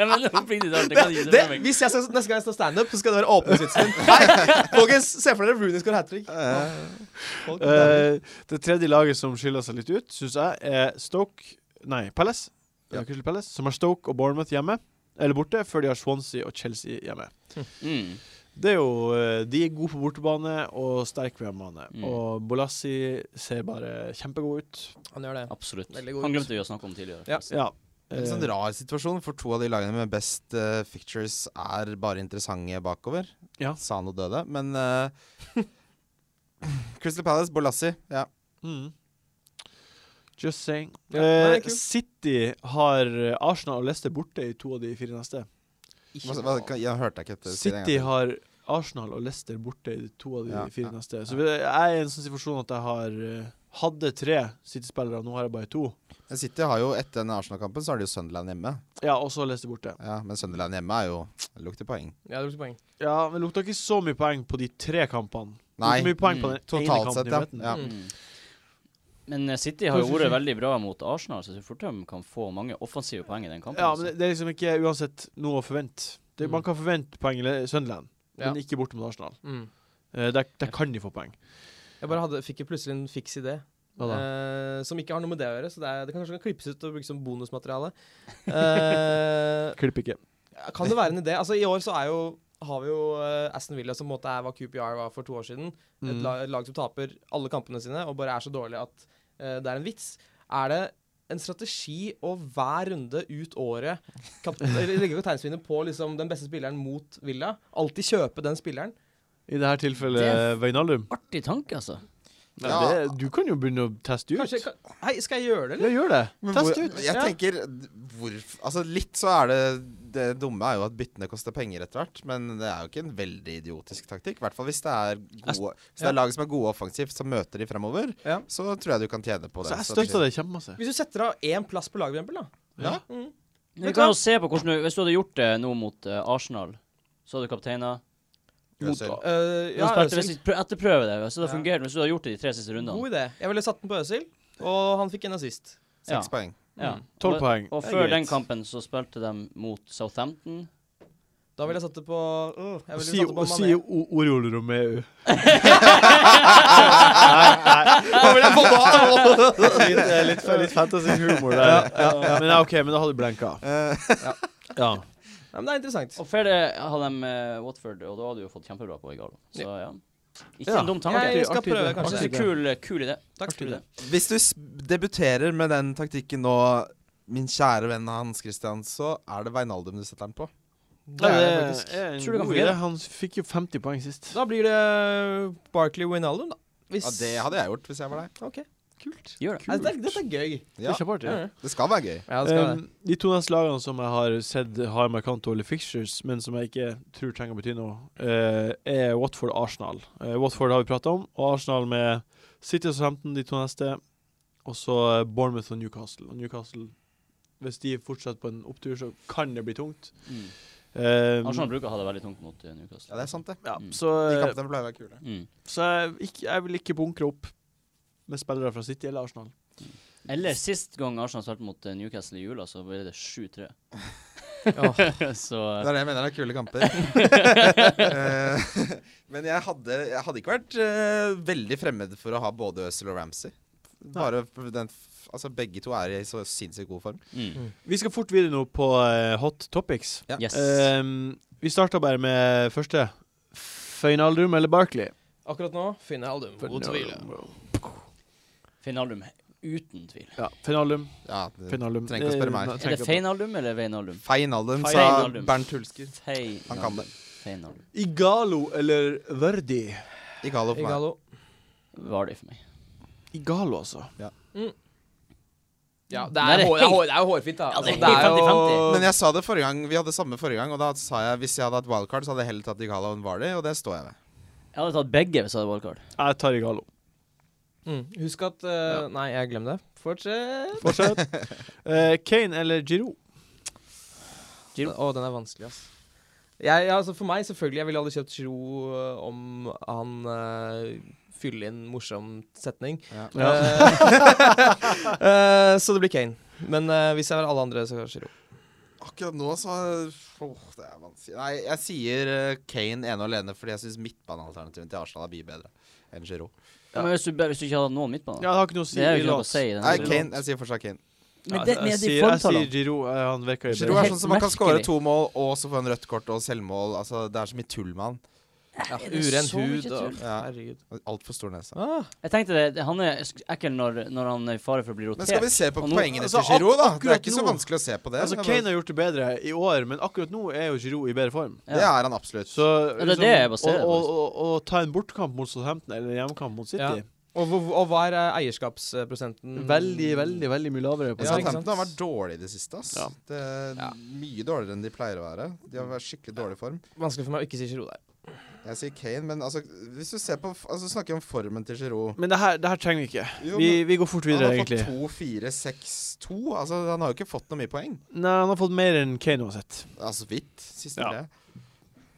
B: Men nå blir det der, det
D: Det,
B: kan jeg ikke se
D: det,
B: for meg.
D: hvis jeg skal, neste gang jeg står standup, så skal det være åpningsvitsen min. Hei, folkens, se for dere Rooney score hat trick.
A: Eh, det tredje laget som skiller seg litt ut, syns jeg, er Stoke Nei, Palace.
E: Ja.
A: Eh, Crystal Palace, som har Stoke og Bournemouth hjemme. Eller borte, før de har Swansea og Chelsea hjemme.
B: Mm.
A: Det er jo, eh, De er gode på bortebane og sterke på hjemmebane.
B: Mm.
A: Og Bolassi ser bare kjempegod ut.
D: Han gjør det.
B: Absolutt.
D: Veldig god
B: Han
D: ut.
B: glemte vi å snakke om tidligere.
D: Ja.
B: forresten.
A: Ja.
E: En sånn
A: eh,
E: rar situasjon, for to av de lagene med best eh, fictures er bare interessante bakover.
A: Ja.
E: Sano døde, men eh, Crystal Palace, Bolassi. Ja.
A: Mm. Just saying.
D: Ja, nei, det er
A: Eh,
D: kult.
A: City har eh, Arsenal og Leicester borte i to av de fire neste.
E: Hva, hva, jeg hørte jeg ikke etter. eh, si det en gang
A: City
E: til.
A: har Arsenal og Leicester borte i de to av de
E: Ja,
A: fire
E: ja,
A: neste. Så jeg er i en sånn situasjon at jeg har eh, hadde tre City-spillere, nå har jeg bare to.
E: Men City har jo etter denne Arsenal-kampen, så har de jo Sunderland hjemme.
A: Ja, og så Leicester borte.
E: Ja, Men Sunderland hjemme er jo det lukter poeng.
D: Ja, det lukter poeng.
A: Ja, men det lukta ikke så mye poeng på de tre kampene. Det lukta
E: Nei,
A: mye poeng på den ene
E: totalt
A: kampen
E: sett,
A: i
E: ja.
A: midten.
E: ja.
D: Mm.
B: Mm. Men eh, City har jo vært veldig bra mot Arsenal, så jeg tror fort de kan få mange offensive poeng i den kampen.
A: Ja,
B: altså.
A: men det, det er liksom ikke uansett noe å forvente. Det,
D: Mm.
A: Man kan forvente poeng i Le- Sunderland,
D: Ja.
A: men ikke borte mot Arsenal.
D: Mm.
A: Eh, der, der kan de få poeng.
D: Jeg bare hadde, fikk jo plutselig en fiks idé.
A: Hva da?
D: eh, som ikke har noe med det å gjøre, så det, er, det kan kanskje kan klippes ut og brukes som bonusmateriale. Eh,
A: Klipp ikke.
D: kan det være en idé? Altså, I år så er jo, har vi jo eh, Aston Villa, som på en måte er hva QPR var for to år siden. Et
A: Mm.
D: lag, et lag som taper alle kampene sine og bare er så dårlig at eh, det er en vits. Er det en strategi å hver runde ut året kap- eller legge kapteinsvinnet på liksom, den beste spilleren mot Villa? Alltid kjøpe den spilleren?
A: I dette tilfellet
B: Det-
A: Veinaldum.
B: Artig tanke, altså.
A: Nei,
E: Ja.
A: det- Du kan jo begynne å teste ut.
D: Kanskje, kan, hei, skal jeg gjøre det, eller?
A: Ja, gjør det.
E: Men
A: Test
E: hvor-
A: ut.
E: Jeg
D: Ja.
E: tenker d- hvorf- Altså Litt så er det Det dumme er jo at byttene koster penger etter hvert, men det er jo ikke en veldig idiotisk taktikk. I hvert fall hvis det er, gode, hvis det
D: ja.
E: er lag som er gode offensivt, som møter de fremover.
D: Ja.
E: Så tror jeg du kan tjene på det.
A: Så jeg støtter det kjempemasse.
D: Hvis du setter av én plass på laget, for eksempel, da.
E: Ja.
D: Mm.
B: Men
D: Vet
B: vi
D: du
B: kan
D: hva?
B: jo se på hvordan du, Hvis du hadde gjort det nå mot eh, Arsenal, så hadde du kapteina.
E: Øsil.
A: Mot-
D: Eh,
B: Ja,
D: ja,
B: hvis
D: Øsil.
B: vi prø- etterprøver det, altså, så det
D: Ja.
B: fungerte, hvis du hadde gjort det de tre siste rundene.
D: God idé. Jeg ville satt den på Øsil, og han fikk en assist.
E: Seks
B: Ja.
E: poeng.
B: Ja.
D: Mm.
A: Tolv
B: Og-
A: poeng.
B: Og
A: Det er
B: før
A: greit.
B: den kampen så spilte de mot Southampton.
D: Da ville jeg satt det på øh, jeg ville
A: Si,
D: satt det på
A: og si
D: Mané.
A: O- Oriol Romeu. Litt, eh, litt, fa- litt fantasy-humor der. Men ja, OK, men da hadde du blenka. Ja.
D: Ja, men det er interessant.
B: Og før det hadde de eh, Watford, og da hadde du jo fått kjempebra på i Galo. Så ja. Ikke
A: Ja.
B: en dum tanke.
D: Jeg skal
A: Artig idé.
D: prøve,
B: Artig,
D: kanskje.
A: idé.
B: kul, eh, kul idé.
D: Takk.
B: Kul idé.
E: Hvis du s- debuterer med den taktikken nå, min kjære venn Hans Christian, så er det Veinaldum du setter den på.
A: Ja,
D: Det er
B: eh,
D: det
A: det
D: faktisk.
A: er en
B: Tror du det kan
A: god idé.
B: fungere?
A: Han fikk jo 50 poeng sist.
D: Da blir det eh, Barkley Wijnaldum, da. Hvis
E: Ja, det hadde jeg gjort hvis jeg var deg.
D: OK, kult.
B: Gjør det.
D: Nei, dette, er- dette er gøy.
A: Det
E: Ja,
A: er kjempeartig.
D: Ja,
E: det skal være gøy.
D: ja, det skal det.
A: Um, de to neste lagene som jeg har sett har markant dårlige fixtures, men som jeg ikke tror trenger å bety noe, eh, er Watford og Arsenal. Eh, Watford har vi prata om, og Arsenal med City og Southampton de to neste. Og så eh, Bournemouth og Newcastle. Og Newcastle, hvis de fortsetter på en opptur, så kan det bli tungt.
B: Mm.
A: Um,
B: Arsenal bruker å ha det veldig tungt mot eh, Newcastle.
E: Ja, det er sant, det.
A: ja,
B: Mm.
A: så
E: De
A: eh,
E: kampene pleier å være kule.
B: Mm.
A: så jeg, ikke, jeg vil ikke bunkre opp med spillere fra City eller Arsenal.
B: Eller sist gang Arsenal spilte mot eh, Newcastle i jula, så ble det 7-3. så
E: Det er det jeg mener er kule kamper. Eh, Men jeg hadde, jeg hadde ikke vært eh, veldig fremmed for å ha både Øzil og Ramsey. Bare f- den, f- altså begge to er i så sinnssykt god form.
B: mm.
A: Vi skal fort videre nå på eh, hot topics.
E: Ja.
B: Yes.
A: Ehm, vi starta bare med første. Føynaldum eller Barkley?
D: Akkurat nå finner jeg Aldum. God tvil.
B: Finaldum, uten tvil.
A: Ja, Føynaldum.
E: Ja, det-
A: Føynaldum.
E: Trenger ikke å spørre meg.
A: Eh, nei,
B: Er
A: trenger
B: det
A: ikke å-
B: Feinaldum eller Veinaldum?
E: Feinaldum, sa
B: Feinaldum.
E: Bernt Hulsker.
B: Feinaldum.
E: Han kan det.
B: Feinaldum.
A: Igalo eller Verdi?
E: Igalo for meg.
D: Igalo.
B: Var det for meg.
A: Igalo, altså.
D: Ja, det
B: Nei,
D: er,
B: det er
D: hår, det er,
B: helt-
D: hår, det er jo hårfint, da.
B: Ja, det er
D: Altså,
B: helt
D: jo-
B: 50-50.
E: Men jeg sa det forrige gang, vi hadde samme forrige gang, og da sa jeg hvis jeg hadde hatt wildcard, så hadde jeg heller tatt Igalo enn Vardy, og det står jeg ved.
B: Jeg hadde tatt begge hvis jeg hadde wildcard.
A: Jeg tar Igalo.
D: Mm. Husk at eh, Nei, jeg glem det. Fortsett.
A: Fortsett. Eh, Kane eller Giroud?
B: Giro.
D: Å, den er vanskelig, ass. Jeg, ja, altså for meg, selvfølgelig. Jeg ville aldri kjøpt Giro eh, om han eh, fyller inn morsom setning.
E: Ja.
D: Eh, eh, så det blir Kane. Men eh, hvis jeg var alle andre, så kanskje Giro.
E: Akkurat nå så Åh, det er vanskelig. Nei, jeg sier eh, Kane ene og alene fordi jeg syns midtbanealternativet til Arsenal er mye bedre enn Giroud.
B: Ja. Men hvis du, hvis du ikke hadde noen midtbane?
A: Ja, det har ikke noe å si.
B: Det er jo
A: Vi
B: ikke
A: la
B: noe å
A: oss.
B: si i den
E: Nei,
B: runden.
E: Kane. altså. Jeg sier fortsatt Kane.
B: Men
A: Ja,
B: det,
A: jeg, sier,
B: med de
A: jeg sier
B: formtallene
A: Giroud. eh, han virker jo
E: Giroud
A: bedre.
E: er
B: helt
E: sånn som man kan skåre
B: merkelig.
E: to mål og så få en rødt kort og selvmål. Altså, det er så mye tull med han.
D: Ja,
B: Er det
D: uren
B: så mye
D: hud
B: tull?
D: og
E: Ja.
D: Herregud.
E: Altfor stor nese.
D: Ah,
B: Jeg tenkte det, det- han er sk- ekkel når, når han er i fare for å bli
E: Men skal
B: rotert.
E: vi se på
B: Og nå-
E: poengene
A: altså,
E: til Giroud, da? Det er
A: akkurat
E: ikke så
A: nå-
E: vanskelig å se på det.
A: Altså,
E: Men
A: Kane har gjort det bedre i år, men akkurat nå er jo Giroud i bedre form.
B: Ja.
E: Det er han absolutt.
A: Så liksom
B: Ja, det er det jeg baserer det
A: å,
B: på,
A: å, å, å ta en bortkamp mot Southampton eller en hjemmekamp mot City
D: Ja. og, hvor- og hva er eh, eierskapsprosenten?
A: Mm. Veldig, veldig veldig mye lavere.
E: Men
D: Ja, ikke sant?
E: Southampton har vært dårlig i det siste. ass.
A: Ja.
E: Det er
D: Ja.
E: Mye dårligere enn de pleier å være. De har vært skikkelig dårlig form.
D: Vanskelig for meg å ikke si Giro der.
E: Jeg sier Kane, men altså, hvis du ser på f- altså, snakker om formen til Giroud
A: Men det her, det her trenger vi ikke.
E: Jo,
A: Vi,
E: men
A: vi går fort
E: Han
A: videre,
E: har
A: egentlig.
E: fått 2-4-6-2. Altså, han har jo ikke fått noe mye poeng.
A: Nei, han har fått mer enn Kane uansett.
E: Altså vidt. Siste
A: Ja.
E: ja.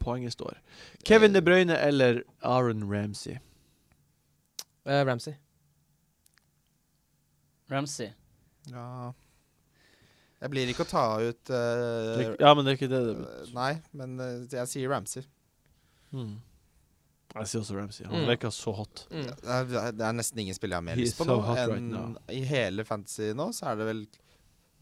A: Poenget står. Kevin De Bruyne eller Aaron Ramsey?
D: Eh, Ramsey.
B: Ramsey.
E: Ja. Jeg blir ikke å ta ut
A: Det er
E: eh,
A: ikke- Ja, men det er ikke det det
E: eh, Nei, men eh, jeg sier Ramsey.
A: mm. Jeg sier også Ramsey. Han
D: Mm.
A: virker så hot.
D: Mm.
E: Det er, det er nesten ingen spiller jeg har mer
A: He's
E: lyst på
A: so
E: nå.
A: hot
E: enn
A: right now.
E: I hele fantasy nå så er det vel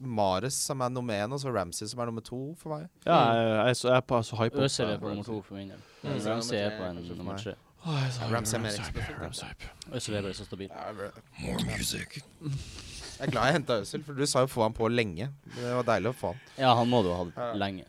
E: Mares som er nummer én, og så Ramsey som er nummer to for meg.
A: Ja, jeg, jeg, er så- jeg er på- jeg er så hype.
B: Øzil
E: ja,
B: er på nummer to for min del. Men
D: Mm.
B: Ramsey er på en
E: Kanskje for
B: nummer
E: meg.
B: tre.
A: Åh, jeg er så
E: Ja,
A: hype.
E: Ramsey er mer
A: hype,
E: eksplosiv, tenker
A: Ramsey hype.
B: Øzil er bare så stabil.
E: Jeg er glad jeg henta Øzil, for du sa jo få han på lenge. Det var deilig å få han.
B: Ja, han må du ha hatt
E: Ja.
B: lenge.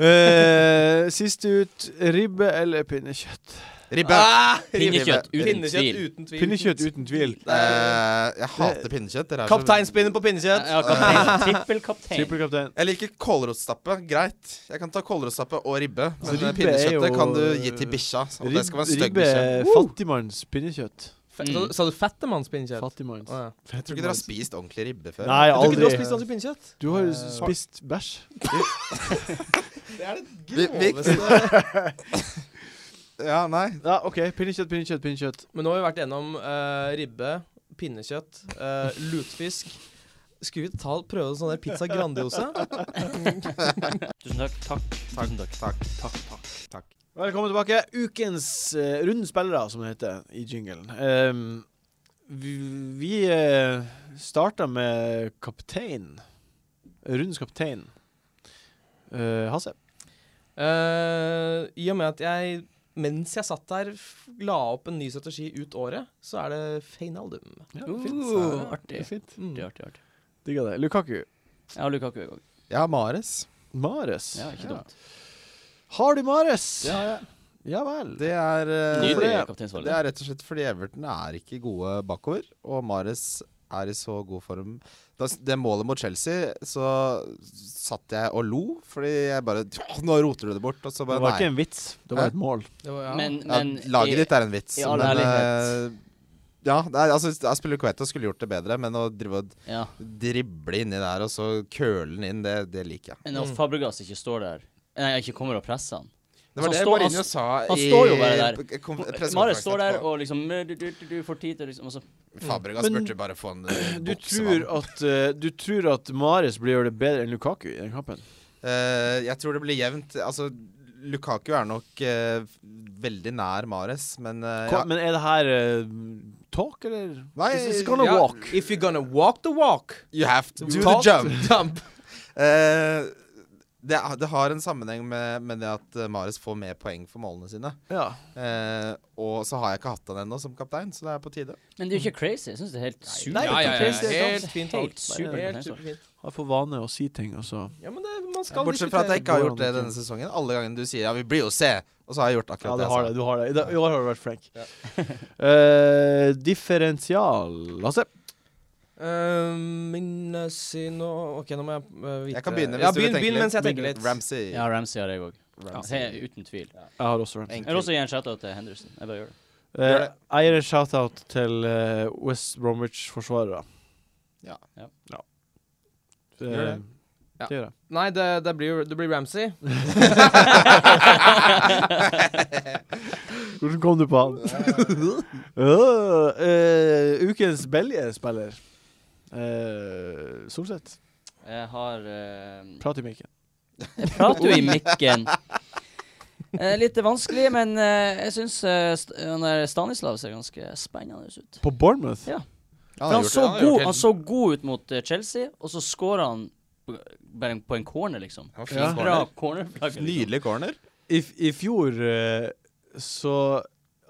A: Eh, Siste ut ribbe eller pinnekjøtt?
E: Ribbe!
A: Ah!
B: Pinnekjøtt, uten
D: Ah! Pinnekjøtt
B: tvil.
D: uten tvil.
A: Pinnekjøtt uten tvil.
E: Eh, jeg hater pinnekjøtt. Dere er så-
D: Kapteinspinnen på pinnekjøtt.
B: Ja, kaptein. Trippelkaptein.
A: Trippelkaptein.
E: Jeg liker kålrotstappe. Greit. Jeg kan ta kålrotstappe og ribbe. Men
A: Altså,
E: eh,
A: Ribbe er
E: pinnekjøttet
A: jo-
E: kan du gi til bikkja. Og Sånn, det skal være en stygg
A: Ribbe
E: bikkje.
A: er fattigmanns pinnekjøtt.
D: Fe-
B: Mm.
D: Sa- Sa du fettemannspinnekjøtt?
A: Fattigmanns.
D: Å, ja.
E: Jeg tror ikke dere har spist ordentlig ribbe før.
A: Nei,
D: Jeg tror ikke du har
A: aldri.
D: spist hans pinnekjøtt.
A: Du har jo
D: Eh,
A: spist bæsj.
D: Det er
E: Vi, vi, ja, nei.
A: Ja, OK. Pinnekjøtt, pinnekjøtt, pinnekjøtt.
D: Men nå har vi vært gjennom eh, ribbe, pinnekjøtt, eh, lutfisk. Skulle vi ta, prøve sånn der pizza Grandiosa?
B: Tusen takk. Takk.
E: Takk, takk, takk. takk, takk.
A: Velkommen tilbake. Ukens uh, runde spillere, som det heter i jinglen. Ehm, vi vi eh, starta med kaptein. Rundens kaptein. Eh, Hasse.
D: Eh, I og med at jeg, mens jeg satt der, f- la opp en ny strategi ut året, så er det Feinaldum.
A: Ja,
B: Uh,
A: Det
B: artig.
A: er fint.
D: Mm.
B: Artig, artig, artig.
A: Digga det. Lukaku.
B: Ja, Lukaku er òg.
E: Ja, Mares.
A: Mares.
B: Ja, ikke dumt.
A: Har du Mares? Ja, vel.
E: Det er eh,
B: Nydelig
E: det-
B: kapteinsvalg.
E: Det er rett og slett fordi Everton er ikke gode bakover, og Mares er i så god form. Da, s- det målet mot Chelsea, så satt jeg og lo, fordi jeg bare Nå roter du det bort, og så
A: Det
E: bare
A: var ikke
E: Nei.
A: en vits. Det var
E: Hæ?
A: et mål.
D: Det var, ja.
B: Men,
E: Ja,
B: men
E: laget ditt er en vits,
B: i all
E: men
B: ærlighet.
E: eh, ja, det er, altså, jeg spiller Kueta skulle gjort det bedre, men å drive og
B: Ja.
E: drible inni der og så køle den inn, det, det liker jeg.
B: Men at Fabregas ikke står der Nei, ikke kommer og presser han.
E: Det var
B: Han
E: det
B: står-
E: Mourinho
B: han-
E: sa
B: han
E: i
B: står jo bare der.
E: p- konf-
B: Mare står
E: pressekonferansen
B: der
E: etterpå.
B: og liksom du, du, du, du får tid til liksom og så-
E: Fabregas
A: Men
E: burde bare få en eh,
A: Du tror
E: boksemann.
A: at, eh, du tror at Mares blir gjøre det bedre enn Lukaku i den kampen?
E: Eh, jeg tror det blir jevnt. Altså, Lukaku er nok eh, veldig nær Mares, men eh,
A: Hva, Men er det her eh, talk, eller?
E: Nei,
A: This is gonna
D: ja,
A: walk.
D: If you're gonna walk the walk,
E: You have to do
D: talk
E: the jump!
D: jump.
E: Eh, det, det har en sammenheng med, med det at eh, Mares får mer poeng for målene sine.
A: Ja.
E: Eh, og så har jeg ikke hatt han ennå som kaptein, så det er på tide.
B: Men det er jo ikke crazy. Jeg syns det er helt supert.
A: nei,
D: ja, ja, ja,
B: kapteinsvalg.
D: helt fint valg.
B: Helt supert
D: Helt
B: kapteinsvalg.
D: superfint.
A: Har for vane å si ting, altså. og så
D: Ja, men det, man skal
E: Bortsett fra at
D: diskutere.
E: jeg ikke har gjort det denne sesongen. Alle gangene du sier 'ja, vi blir jo se', og så har jeg gjort
A: Ja,
E: akkurat
A: du har
E: det.
A: det.
E: jeg sa.
A: du har det I dag- i år har du vært flink.
E: Ja.
A: Eh, differensial Lasse.
D: Eh, Minnesino Ok, nå må jeg eh, vite
E: Jeg kan begynne hvis
D: ja,
E: du vil
D: begynn,
E: tenke
D: begynn
E: litt.
D: mens jeg tenker litt.
E: Ramsey.
B: Ja, Ramsey har jeg òg.
E: Ramsey.
B: Uten tvil.
A: Jeg har også vært
E: Enkelt.
B: Jeg vil også gi en shout-out til Henderson. Jeg bare gjør det.
E: Gjør
A: Eh,
E: det.
A: Jeg gir en shout-out til eh, West Bromwich-forsvarere.
E: Ja.
B: Ja.
A: Ja. Eh,
E: Gjør det.
A: Det gjør jeg.
D: Nei, det, det, blir, det blir Ramsey.
A: Hvordan kom du på han? Øh, eh, ukens Belje-spiller. Eh, Solseth.
B: Jeg har eh,
A: Prat i mikken.
B: Jeg prater jo i mikken. Eh, litt vanskelig, men eh, jeg syns eh, st han der Stanislav ser ganske spennende ut.
A: På Bournemouth?
B: Ja. For han,
E: har gjort det,
B: så
E: har gjort
B: god,
E: helt-
B: han så god ut mot eh, Chelsea, og så scorer han på- bare på en corner, liksom.
E: Han var
A: Ja.
E: fin corner.
B: Bra cornerflagg. Liksom.
E: Nydelig corner.
A: I, f- i fjor eh, så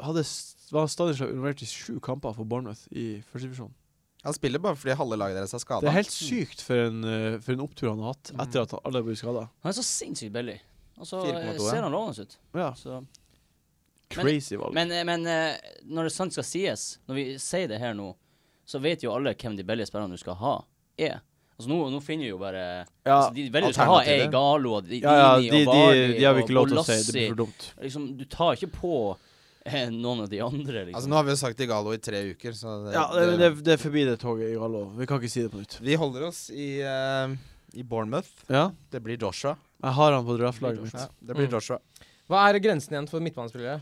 A: hadde, s- var Stanislav involvert i sju kamper for Bournemouth i første divisjon.
E: Han spiller bare fordi halve laget deres er skada.
A: Det er helt sykt for en, eh, for en opptur han har
B: Mm.
A: hatt etter at han- alle ble skada.
B: Han er så sinnssykt billig. Og så
E: 4,2,
B: eh,
E: ja.
B: ser han lovende ut.
A: Ja.
B: Så.
A: Crazy valg.
B: Men, eh, men eh, når det sant skal sies, når vi sier det her nå, så vet jo alle hvem de billige spillerne du skal ha, er. Altså nå, nå finner vi jo bare
A: Ja,
B: altså, De velger du skal ha er
E: alternativet.
B: Igalo og Dini
A: ja, ja de, de,
B: og Vardy
A: de har vi ikke lov
B: og
A: til å si.
B: Bolassi.
A: Det blir for dumt.
B: Liksom, du tar ikke på eh, noen av de andre, liksom.
E: Altså, nå har vi jo sagt Igalo i tre uker, så det,
A: Ja, det, det, det er forbi det toget, Igalo. Vi kan ikke si det på nytt.
E: Vi holder oss i, eh, i Bournemouth.
A: Ja,
E: Det blir Joshua.
A: jeg har han på draftlaget mitt.
E: Ja, det blir
D: Mm.
E: Joshua.
D: Hva er grensen igjen for midtbanespillere?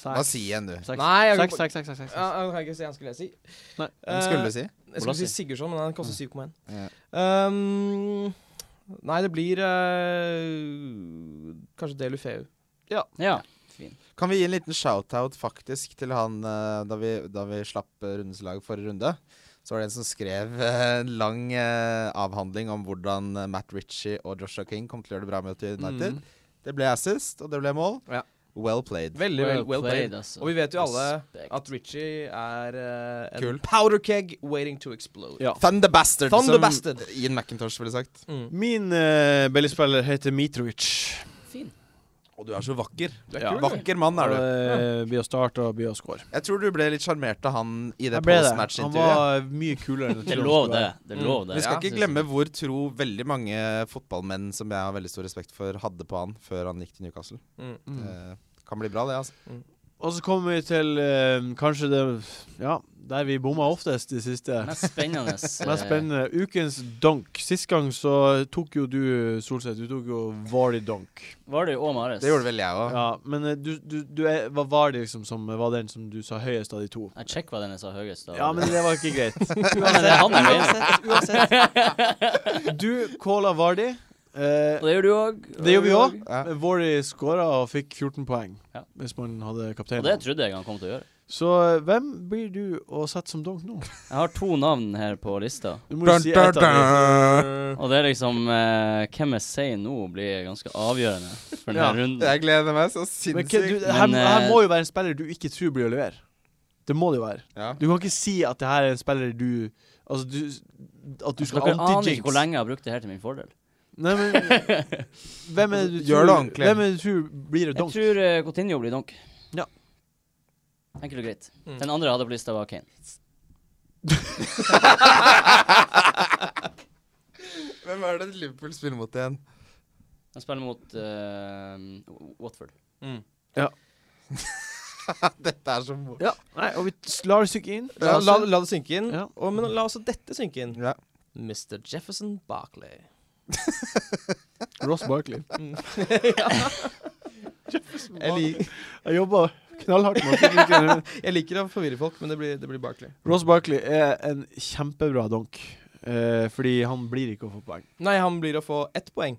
E: Hva sier en, du?
A: Seks,
D: Nei, jeg vil
A: seks,
D: bare-
A: seks, seks, seks,
D: Ja,
A: seks.
D: jeg kan ikke si han skulle jeg si.
A: Nei,
E: Hvem skulle du si?
D: Eh, Jeg skulle si Sigurdsson, men han koster 7,1.
E: Ja.
D: Um, nei, det blir eh, kanskje Delufeu.
B: Ja.
E: Kan vi gi en liten shout-out faktisk til han eh, da, vi, da vi slapp eh, rundens lag forrige runde? Så var det en som skrev eh, en lang eh, avhandling om hvordan eh, Matt Ritchie og Joshua King kom til å gjøre det bra med United.
A: Mm.
E: Det ble assist, og det ble mål.
D: Ja.
E: Well played.
D: Veldig well, well played.
B: altså.
D: Og vi vet jo alle
B: Respekt.
D: at Richie er eh, en
E: Kul.
D: powder keg waiting to explode.
A: Ja.
E: Thunder Bastard,
D: Thunder
E: som
D: Bastard.
E: Ian McIntosh ville sagt.
D: Mm.
A: Min uh, billigspiller heter Mitrovic.
B: Fin.
E: Og du er så vakker.
D: Du er
A: Ja.
D: kul, du.
E: Vakker mann er du.
A: Eh, Blir å starte og blir å score.
E: Jeg tror du ble litt sjarmert av han i det
A: Jeg ble det. Han
E: postmatch-intervjuet.
A: var eh, mye kulere enn jeg
B: Det
A: trodde
B: er
A: han
B: lov,
A: skulle
B: det.
A: være.
B: Det er lov, det.
E: Vi skal
B: Ja,
E: ikke
B: synes
E: glemme
B: jeg.
E: hvor tro veldig mange fotballmenn som jeg har veldig stor respekt for, hadde på han før han gikk til Newcastle.
D: Mm.
A: Mm.
E: Eh, kan bli bra, det. altså.
A: Og så kommer vi til eh, kanskje det Ja, der vi bomma oftest de siste.
B: Mest spennende eh,
A: Mest spennende. Ukens donk. Sist gang så tok jo du, Solseth, du tok jo Vardy donk.
B: var det jo Mares.
E: Det gjorde vel jeg òg.
A: Ja, men eh, du, du, du er, var Vardy liksom som var den som du sa høyest av de to.
B: Jeg sjekket hva den jeg sa høyest. da.
A: Ja, men det var ikke greit.
B: Ja, men det er han jeg mener.
A: Uansett, uansett. Du calla Vardy. Eh,
B: Og det gjør du òg.
A: det gjør vi òg.
E: Ja.
A: Men Vardy skåra og fikk 14 poeng,
B: Ja.
A: hvis man hadde
B: Og det
A: kapteinen.
B: trodde jeg han kom til å gjøre.
A: Så eh, hvem blir du å sette som donk nå?
B: Jeg har to navn her på lista.
A: Du må jo si ett av dem.
B: Og det er liksom eh, Hvem jeg sier nå, blir ganske avgjørende for denne
A: Ja,
B: runden.
E: Jeg gleder meg så
A: Men hva- du,
E: sinnssykt.
A: her,
B: Men, eh,
A: her må jo være en spiller du ikke tror blir å levere. Det må det jo være.
E: Ja.
A: Du kan ikke si at det her er en spiller du Altså, du At du skal
B: Altså, Dere aner ikke hvor
A: anti-jinx.
B: lenge jeg har brukt det her til min fordel.
A: Nei, men Hvem er det du
E: Gjør det
A: tror,
E: ordentlig.
A: Hvem er det du tror blir
B: Jeg
A: donk?
B: tror uh, Coutinho blir donk.
A: Ja.
B: Enkelt og greit.
D: Mm.
B: Den andre jeg hadde på lista, var Kane.
E: Hvem er det Liverpool spiller mot igjen?
B: Han spiller mot eh, Watford.
D: Mm.
E: Dette er så morsomt.
A: Ja, nei, og vi s- lar det synke inn.
D: La, la, la det synke inn.
A: Ja.
D: Og, men la også dette synke inn.
E: Ja.
D: Mr. Jefferson Barkley.
A: Ross Barkley.
D: Mm. Jeg, lik,
A: Jeg jobba knallhardt med å finne ut hvem det er.
D: jeg liker å forvirre folk, men det blir, det blir Barkley.
A: Ross Barkley er en kjempebra donk, eh, fordi han blir ikke å få poeng.
D: Nei, han blir å få ett poeng.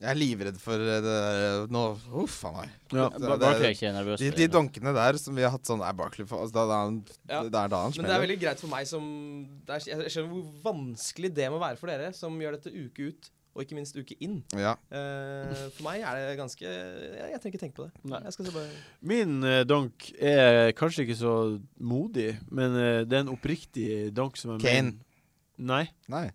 E: Jeg er livredd for eh, det der Nå Huff a meg.
A: Ja.
E: Det-
B: Bar-
E: det-
B: Barkley er ikke nervøs.
E: De,
B: for
E: de
B: det.
E: donkene der som vi har hatt sånn Er Barkley for altså, da, da, han-
D: Ja.
E: Det er da
D: Men
E: han
D: det er
E: smeller.
D: veldig greit for meg som det er, Jeg skjønner hvor vanskelig det må være for dere, som gjør dette uke ut, og ikke minst uke inn.
E: Ja.
D: Eh, for meg er det ganske Jeg, jeg trenger ikke tenke på det.
A: Nei.
D: Jeg skal se bare
A: Min eh, donk er kanskje ikke så modig, men eh, det er en oppriktig donk som jeg
E: Kane.
A: mener Nei.
E: Nei.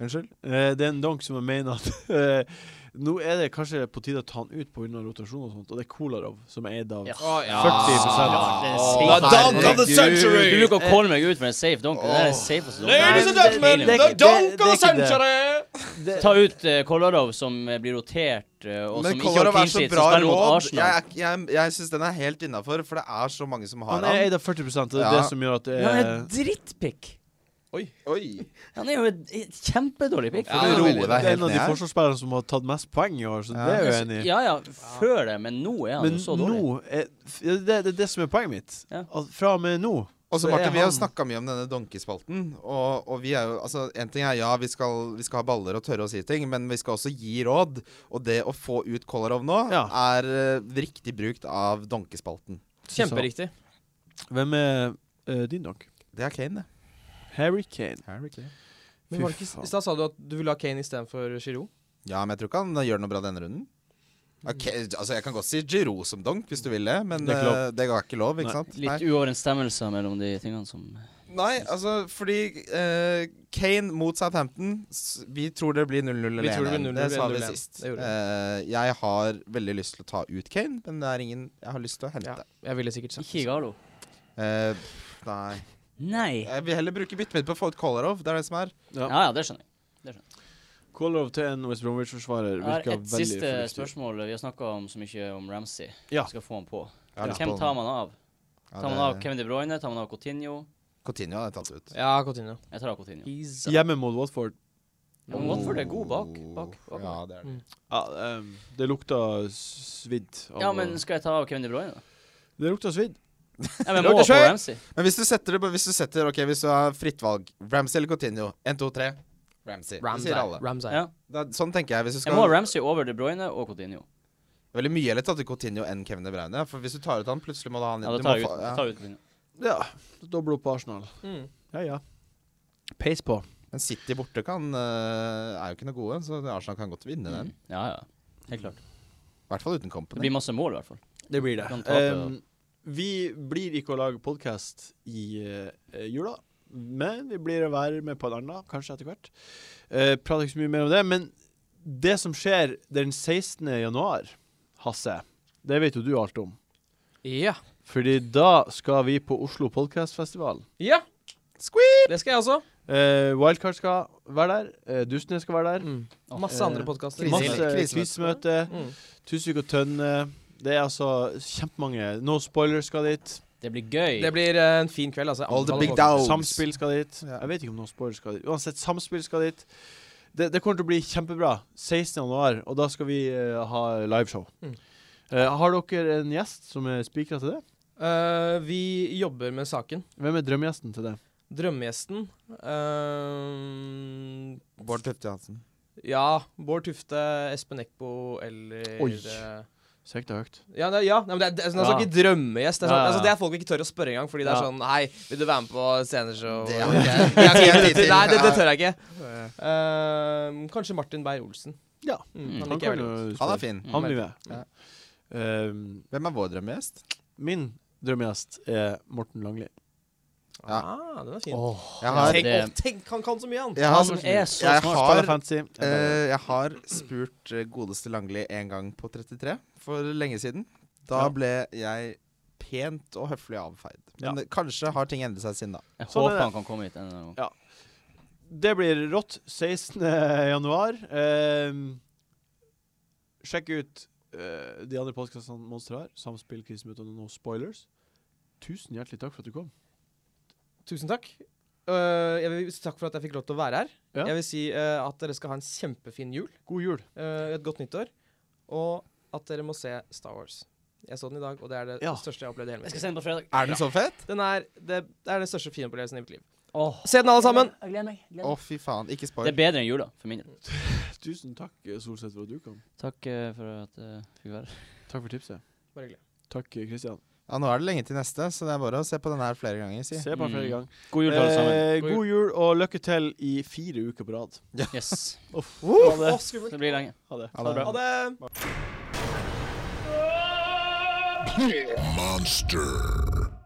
E: Unnskyld?
A: Eh, det er en donk som jeg mener at eh, Nå er det kanskje på tide å ta han ut pga. rotasjon og sånt, og det er Kolarov som er eid av
B: Ja.
E: Ah.
A: 40%
B: Klart det er
E: Åh,
B: safe.
E: La dunk of the
B: Herregud.
E: century!
B: Du bruker å kalle meg ut for en safe donk. Det er den safeste donken.
A: Ladies and gentlemen,
B: Nei,
A: the
B: det-
A: dunk of century!
B: det-
A: Det,
B: Ta ut eh, Kolarov, som eh, blir rotert, eh, og som
E: Men
B: ikke har
E: Kolarov
B: clean
E: er så
B: sheet,
E: bra
B: som spiller mot
E: råd.
B: Arsenal.
E: Jeg, jeg, jeg syns den er helt innafor, for det er så mange som har
A: han er
E: han.
A: eid av 40 og det er
E: Ja.
A: det som gjør at det
B: Ja,
A: er
B: Han er en drittpick.
E: Oi.
B: Han er jo et et kjempedårlig pick.
E: Ja,
A: det er
E: roe
A: veldig-
E: deg
A: det er en
E: helt
A: av de
E: ned her.
A: forsvarsspillerne som har tatt mest poeng i år, så
E: Ja.
A: det er jeg enig i.
B: Ja, ja, før det, men nå er han
A: Men
B: jo så dårlig.
A: nå er, f- ja, det, det er det som er poenget mitt.
B: Ja.
A: At fra og med nå
E: Og så,
A: Så er
E: Martin, Vi har
A: han-
E: snakka mye om denne donkespalten. Og, og vi er jo, altså, en ting er ja, vi skal, vi skal ha baller og tørre å si ting, men vi skal også gi råd. Og det å få ut Kolarov nå
A: Ja.
E: er eh, riktig brukt av donkespalten.
D: Kjemperiktig.
A: Hvem er eh, din donk?
E: Det er Kane, det.
A: Harry Kane.
D: Men var det ikke, I stad sa du at du ville ha Kane istedenfor Giroud.
E: Ja, men jeg tror ikke han gjør noe bra denne runden. Ok, altså Jeg kan godt si Giroud som donk, hvis du vil det, men
A: Det er
E: det,
A: ikke lov.
E: det er ikke lov. ikke
A: Nei.
E: sant?
B: Litt uoverensstemmelser mellom de tingene som
E: Nei, altså fordi eh, Kane mot Southampton s- Vi tror det blir 0-0 eller
D: Vi tror det
E: 1-1.
D: blir 0-0
E: Det sa
D: eller
E: vi
D: 0-1.
E: sist.
D: Det gjorde vi.
E: Eh, jeg har veldig lyst til å ta ut Kane, men det er ingen jeg har lyst til å hente.
D: Ja, jeg ville sikkert sagt
B: Ikke Igalo.
E: Eh, nei
B: Nei.
E: Jeg vil heller bruke byttet mitt på å få ut Kolarov. Det er det som er.
A: Ja.
B: Ja, ja, det skjønner jeg.
A: Kolarov til en West Bromwich-forsvarer
B: Jeg har
A: virker
B: et
A: veldig
B: siste
A: fornuftig.
B: spørsmål. Vi har snakka om så mye om Ramsey.
A: Ja.
B: Skal få han på.
E: Jeg har lyst
B: Hvem
E: på-
B: tar man av?
E: Ja,
B: Tar man
E: det-
B: av Kevin De Bruyne? Tar man av Coutinho?
E: Coutinho har jeg tatt ut.
D: Ja, Coutinho.
B: Jeg tar av Coutinho.
A: Hjemme mot Watford.
B: Ja, men Watford er god bak. bak, bak.
E: Oh, Ja,
B: Ja.
E: det er
D: Mm.
E: det.
A: Ja, ehm, det lukta svidd. av å-
B: men skal jeg ta av Kevin De Bruyne, da?
A: Det lukta svidd.
B: Ja, men
E: Lukter
B: må på
E: skøy!
B: Ramsey.
E: Men hvis du setter det på- Hvis du setter Ok, hvis du har fritt valg Ramsey eller Coutinho? En, to, tre. Ramsey. Det sier alle.
D: Ramsay.
B: Ja.
E: Da, sånn tenker jeg. Hvis du
B: Jeg må ha
E: skal
B: Ramsey over De Bruyne og Coutinho.
E: Veldig mye heller tatt ut Coutinho enn Kevin De Bruyne. For hvis du tar ut han, plutselig må du ha han
B: Ja, da
E: du må
B: tar jeg ut,
E: få-
B: da
E: ja.
B: tar jeg ut Coutinho.
A: Ja. Doble opp på Arsenal.
D: Mm.
A: Ja, ja. Peis på.
E: Men City borte kan eh, er jo ikke noe gode, så Arsenal kan godt vinne den.
B: Mm. Ja, ja. Helt klart.
E: I hvert fall uten
B: Det
E: Company.
B: blir masse mål, i hvert fall.
A: Det blir det.
B: Kan tape,
A: Ehm, vi blir ikke å lage podkast i eh, jula, men vi blir å være med på en annen, kanskje etter hvert. Eh, prater ikke så mye mer om det, men det som skjer den 16. januar, Hasse, det vet jo du alt om.
D: Ja.
A: Fordi da skal vi på Oslo Podcastfestival.
D: ja. Squeak! Det skal jeg også.
A: Eh, Wildcard skal være der. Eh, Dustene skal være der.
D: Mm. Masse andre podkaster.
E: Krise-
A: Masse krisemøte.
E: krisemøte.
D: Mm.
A: Tusvik og Tønne. Det er altså kjempemange. No spoilers skal dit.
B: Det blir gøy.
D: Det blir eh, en fin kveld, altså. Jeg
E: All the
D: anbefaler
E: big
D: folk-
E: dogs.
A: Samspill skal dit.
E: Ja.
A: Jeg vet ikke om noen spoiler skal dit. Uansett, Samspill skal dit. Det, det kommer til å bli kjempebra 16. januar, og da skal vi eh, ha liveshow.
D: Mm.
A: Eh, har dere en gjest som er spikra til det?
D: Eh, vi jobber med saken.
A: Hvem er drømmegjesten til det?
D: Drømmegjesten eh,
E: Bård Tufte Johansen.
D: Ja, Bård Tufte, Espen Eckbo eller
A: Oi.
D: eh,
A: Søkte høyt.
D: Ja, nei, ja. Nei, men det er, det er, sånn, altså,
A: Ja.
D: ikke drømmegjest. Det er, sånn,
A: Ja, ja.
D: altså, det er folk vi ikke tør å spørre engang. Fordi det er
A: Ja.
D: sånn Hei, vil du være med på sceneshow?
E: Det har
D: Nei,
E: ikke jeg- det har ikke jeg tid til.
D: det, det tør jeg ikke.
E: Ja.
D: Ehm, kanskje Martin Beyer-Olsen.
A: Ja.
B: Mm.
D: Mm, han
A: Han,
D: liker jeg
A: kan jo
D: veldig godt.
E: Han
A: spille.
E: er fin.
A: Han blir med.
E: Ja.
A: Eh,
E: Hvem er vår drømmegjest?
A: min drømmegjest er Morten Langli.
E: Ja.
D: Ah, den er fin.
E: Jeg har,
B: det-
D: tenk, å, tenk, han kan så mye, han.
E: jeg
B: Han
E: har,
B: som er så
E: jeg
B: smart.
A: Spiller
E: har
A: fantasy. Jeg bare-
E: Eh, jeg har spurt eh, godeste Langli en gang på 33 for lenge siden. Da
A: Ja.
E: ble jeg pent og høflig avfeid. Men
A: Ja.
E: det- kanskje har ting endret seg siden da.
B: Jeg
A: Sånn er
B: håper
A: det.
B: han kan komme hit en eller annen gang.
A: Det blir rått. 16. januar. Ehm, sjekk ut eh, de andre podkastene Monster har. Samspill, krisemøte og no spoilers. Tusen hjertelig takk for at du kom.
D: Tusen takk. Eh, jeg vil, si takk for at jeg fikk lov til å være her.
A: Ja.
D: Jeg vil si eh, at dere skal ha en kjempefin jul.
A: God jul.
D: eh, et godt nyttår. Og at dere må se Star Wars. Jeg så den i dag, og det er det
A: Ja.
D: største jeg har opplevd i hele
B: Jeg
D: mitt
B: skal se
D: liv.
B: den på fredag.
E: Er den så fet?
D: Den er, det, det er den største filmopplevelsen i mitt liv.
B: Åh.
D: Se den, alle sammen!
B: Jeg gleder meg. jeg
E: Å,
B: gleder meg.
E: fy faen. Ikke
B: Det
E: spoil.
B: er bedre enn jula, for min del.
A: Tusen takk, eh, Solseth, for at du kom.
B: Takk eh, for at jeg fikk være her.
A: Takk for tipset.
D: Bare hyggelig.
A: Takk, eh, Christian.
E: Ja, nå er det lenge til neste, så det er bare å se på den her flere ganger. Si.
A: Se på
B: Mm.
A: flere ganger.
B: God jul til alle sammen.
A: Eh,
D: God
A: god jul og lykke til i fire uker på rad.
B: Yes.
A: Uff. Ha
D: Uff,
A: det.
D: å, skummelt.
B: Det blir lenge.
A: Ha det.
E: Ha det.
D: Ha det.
C: Monster.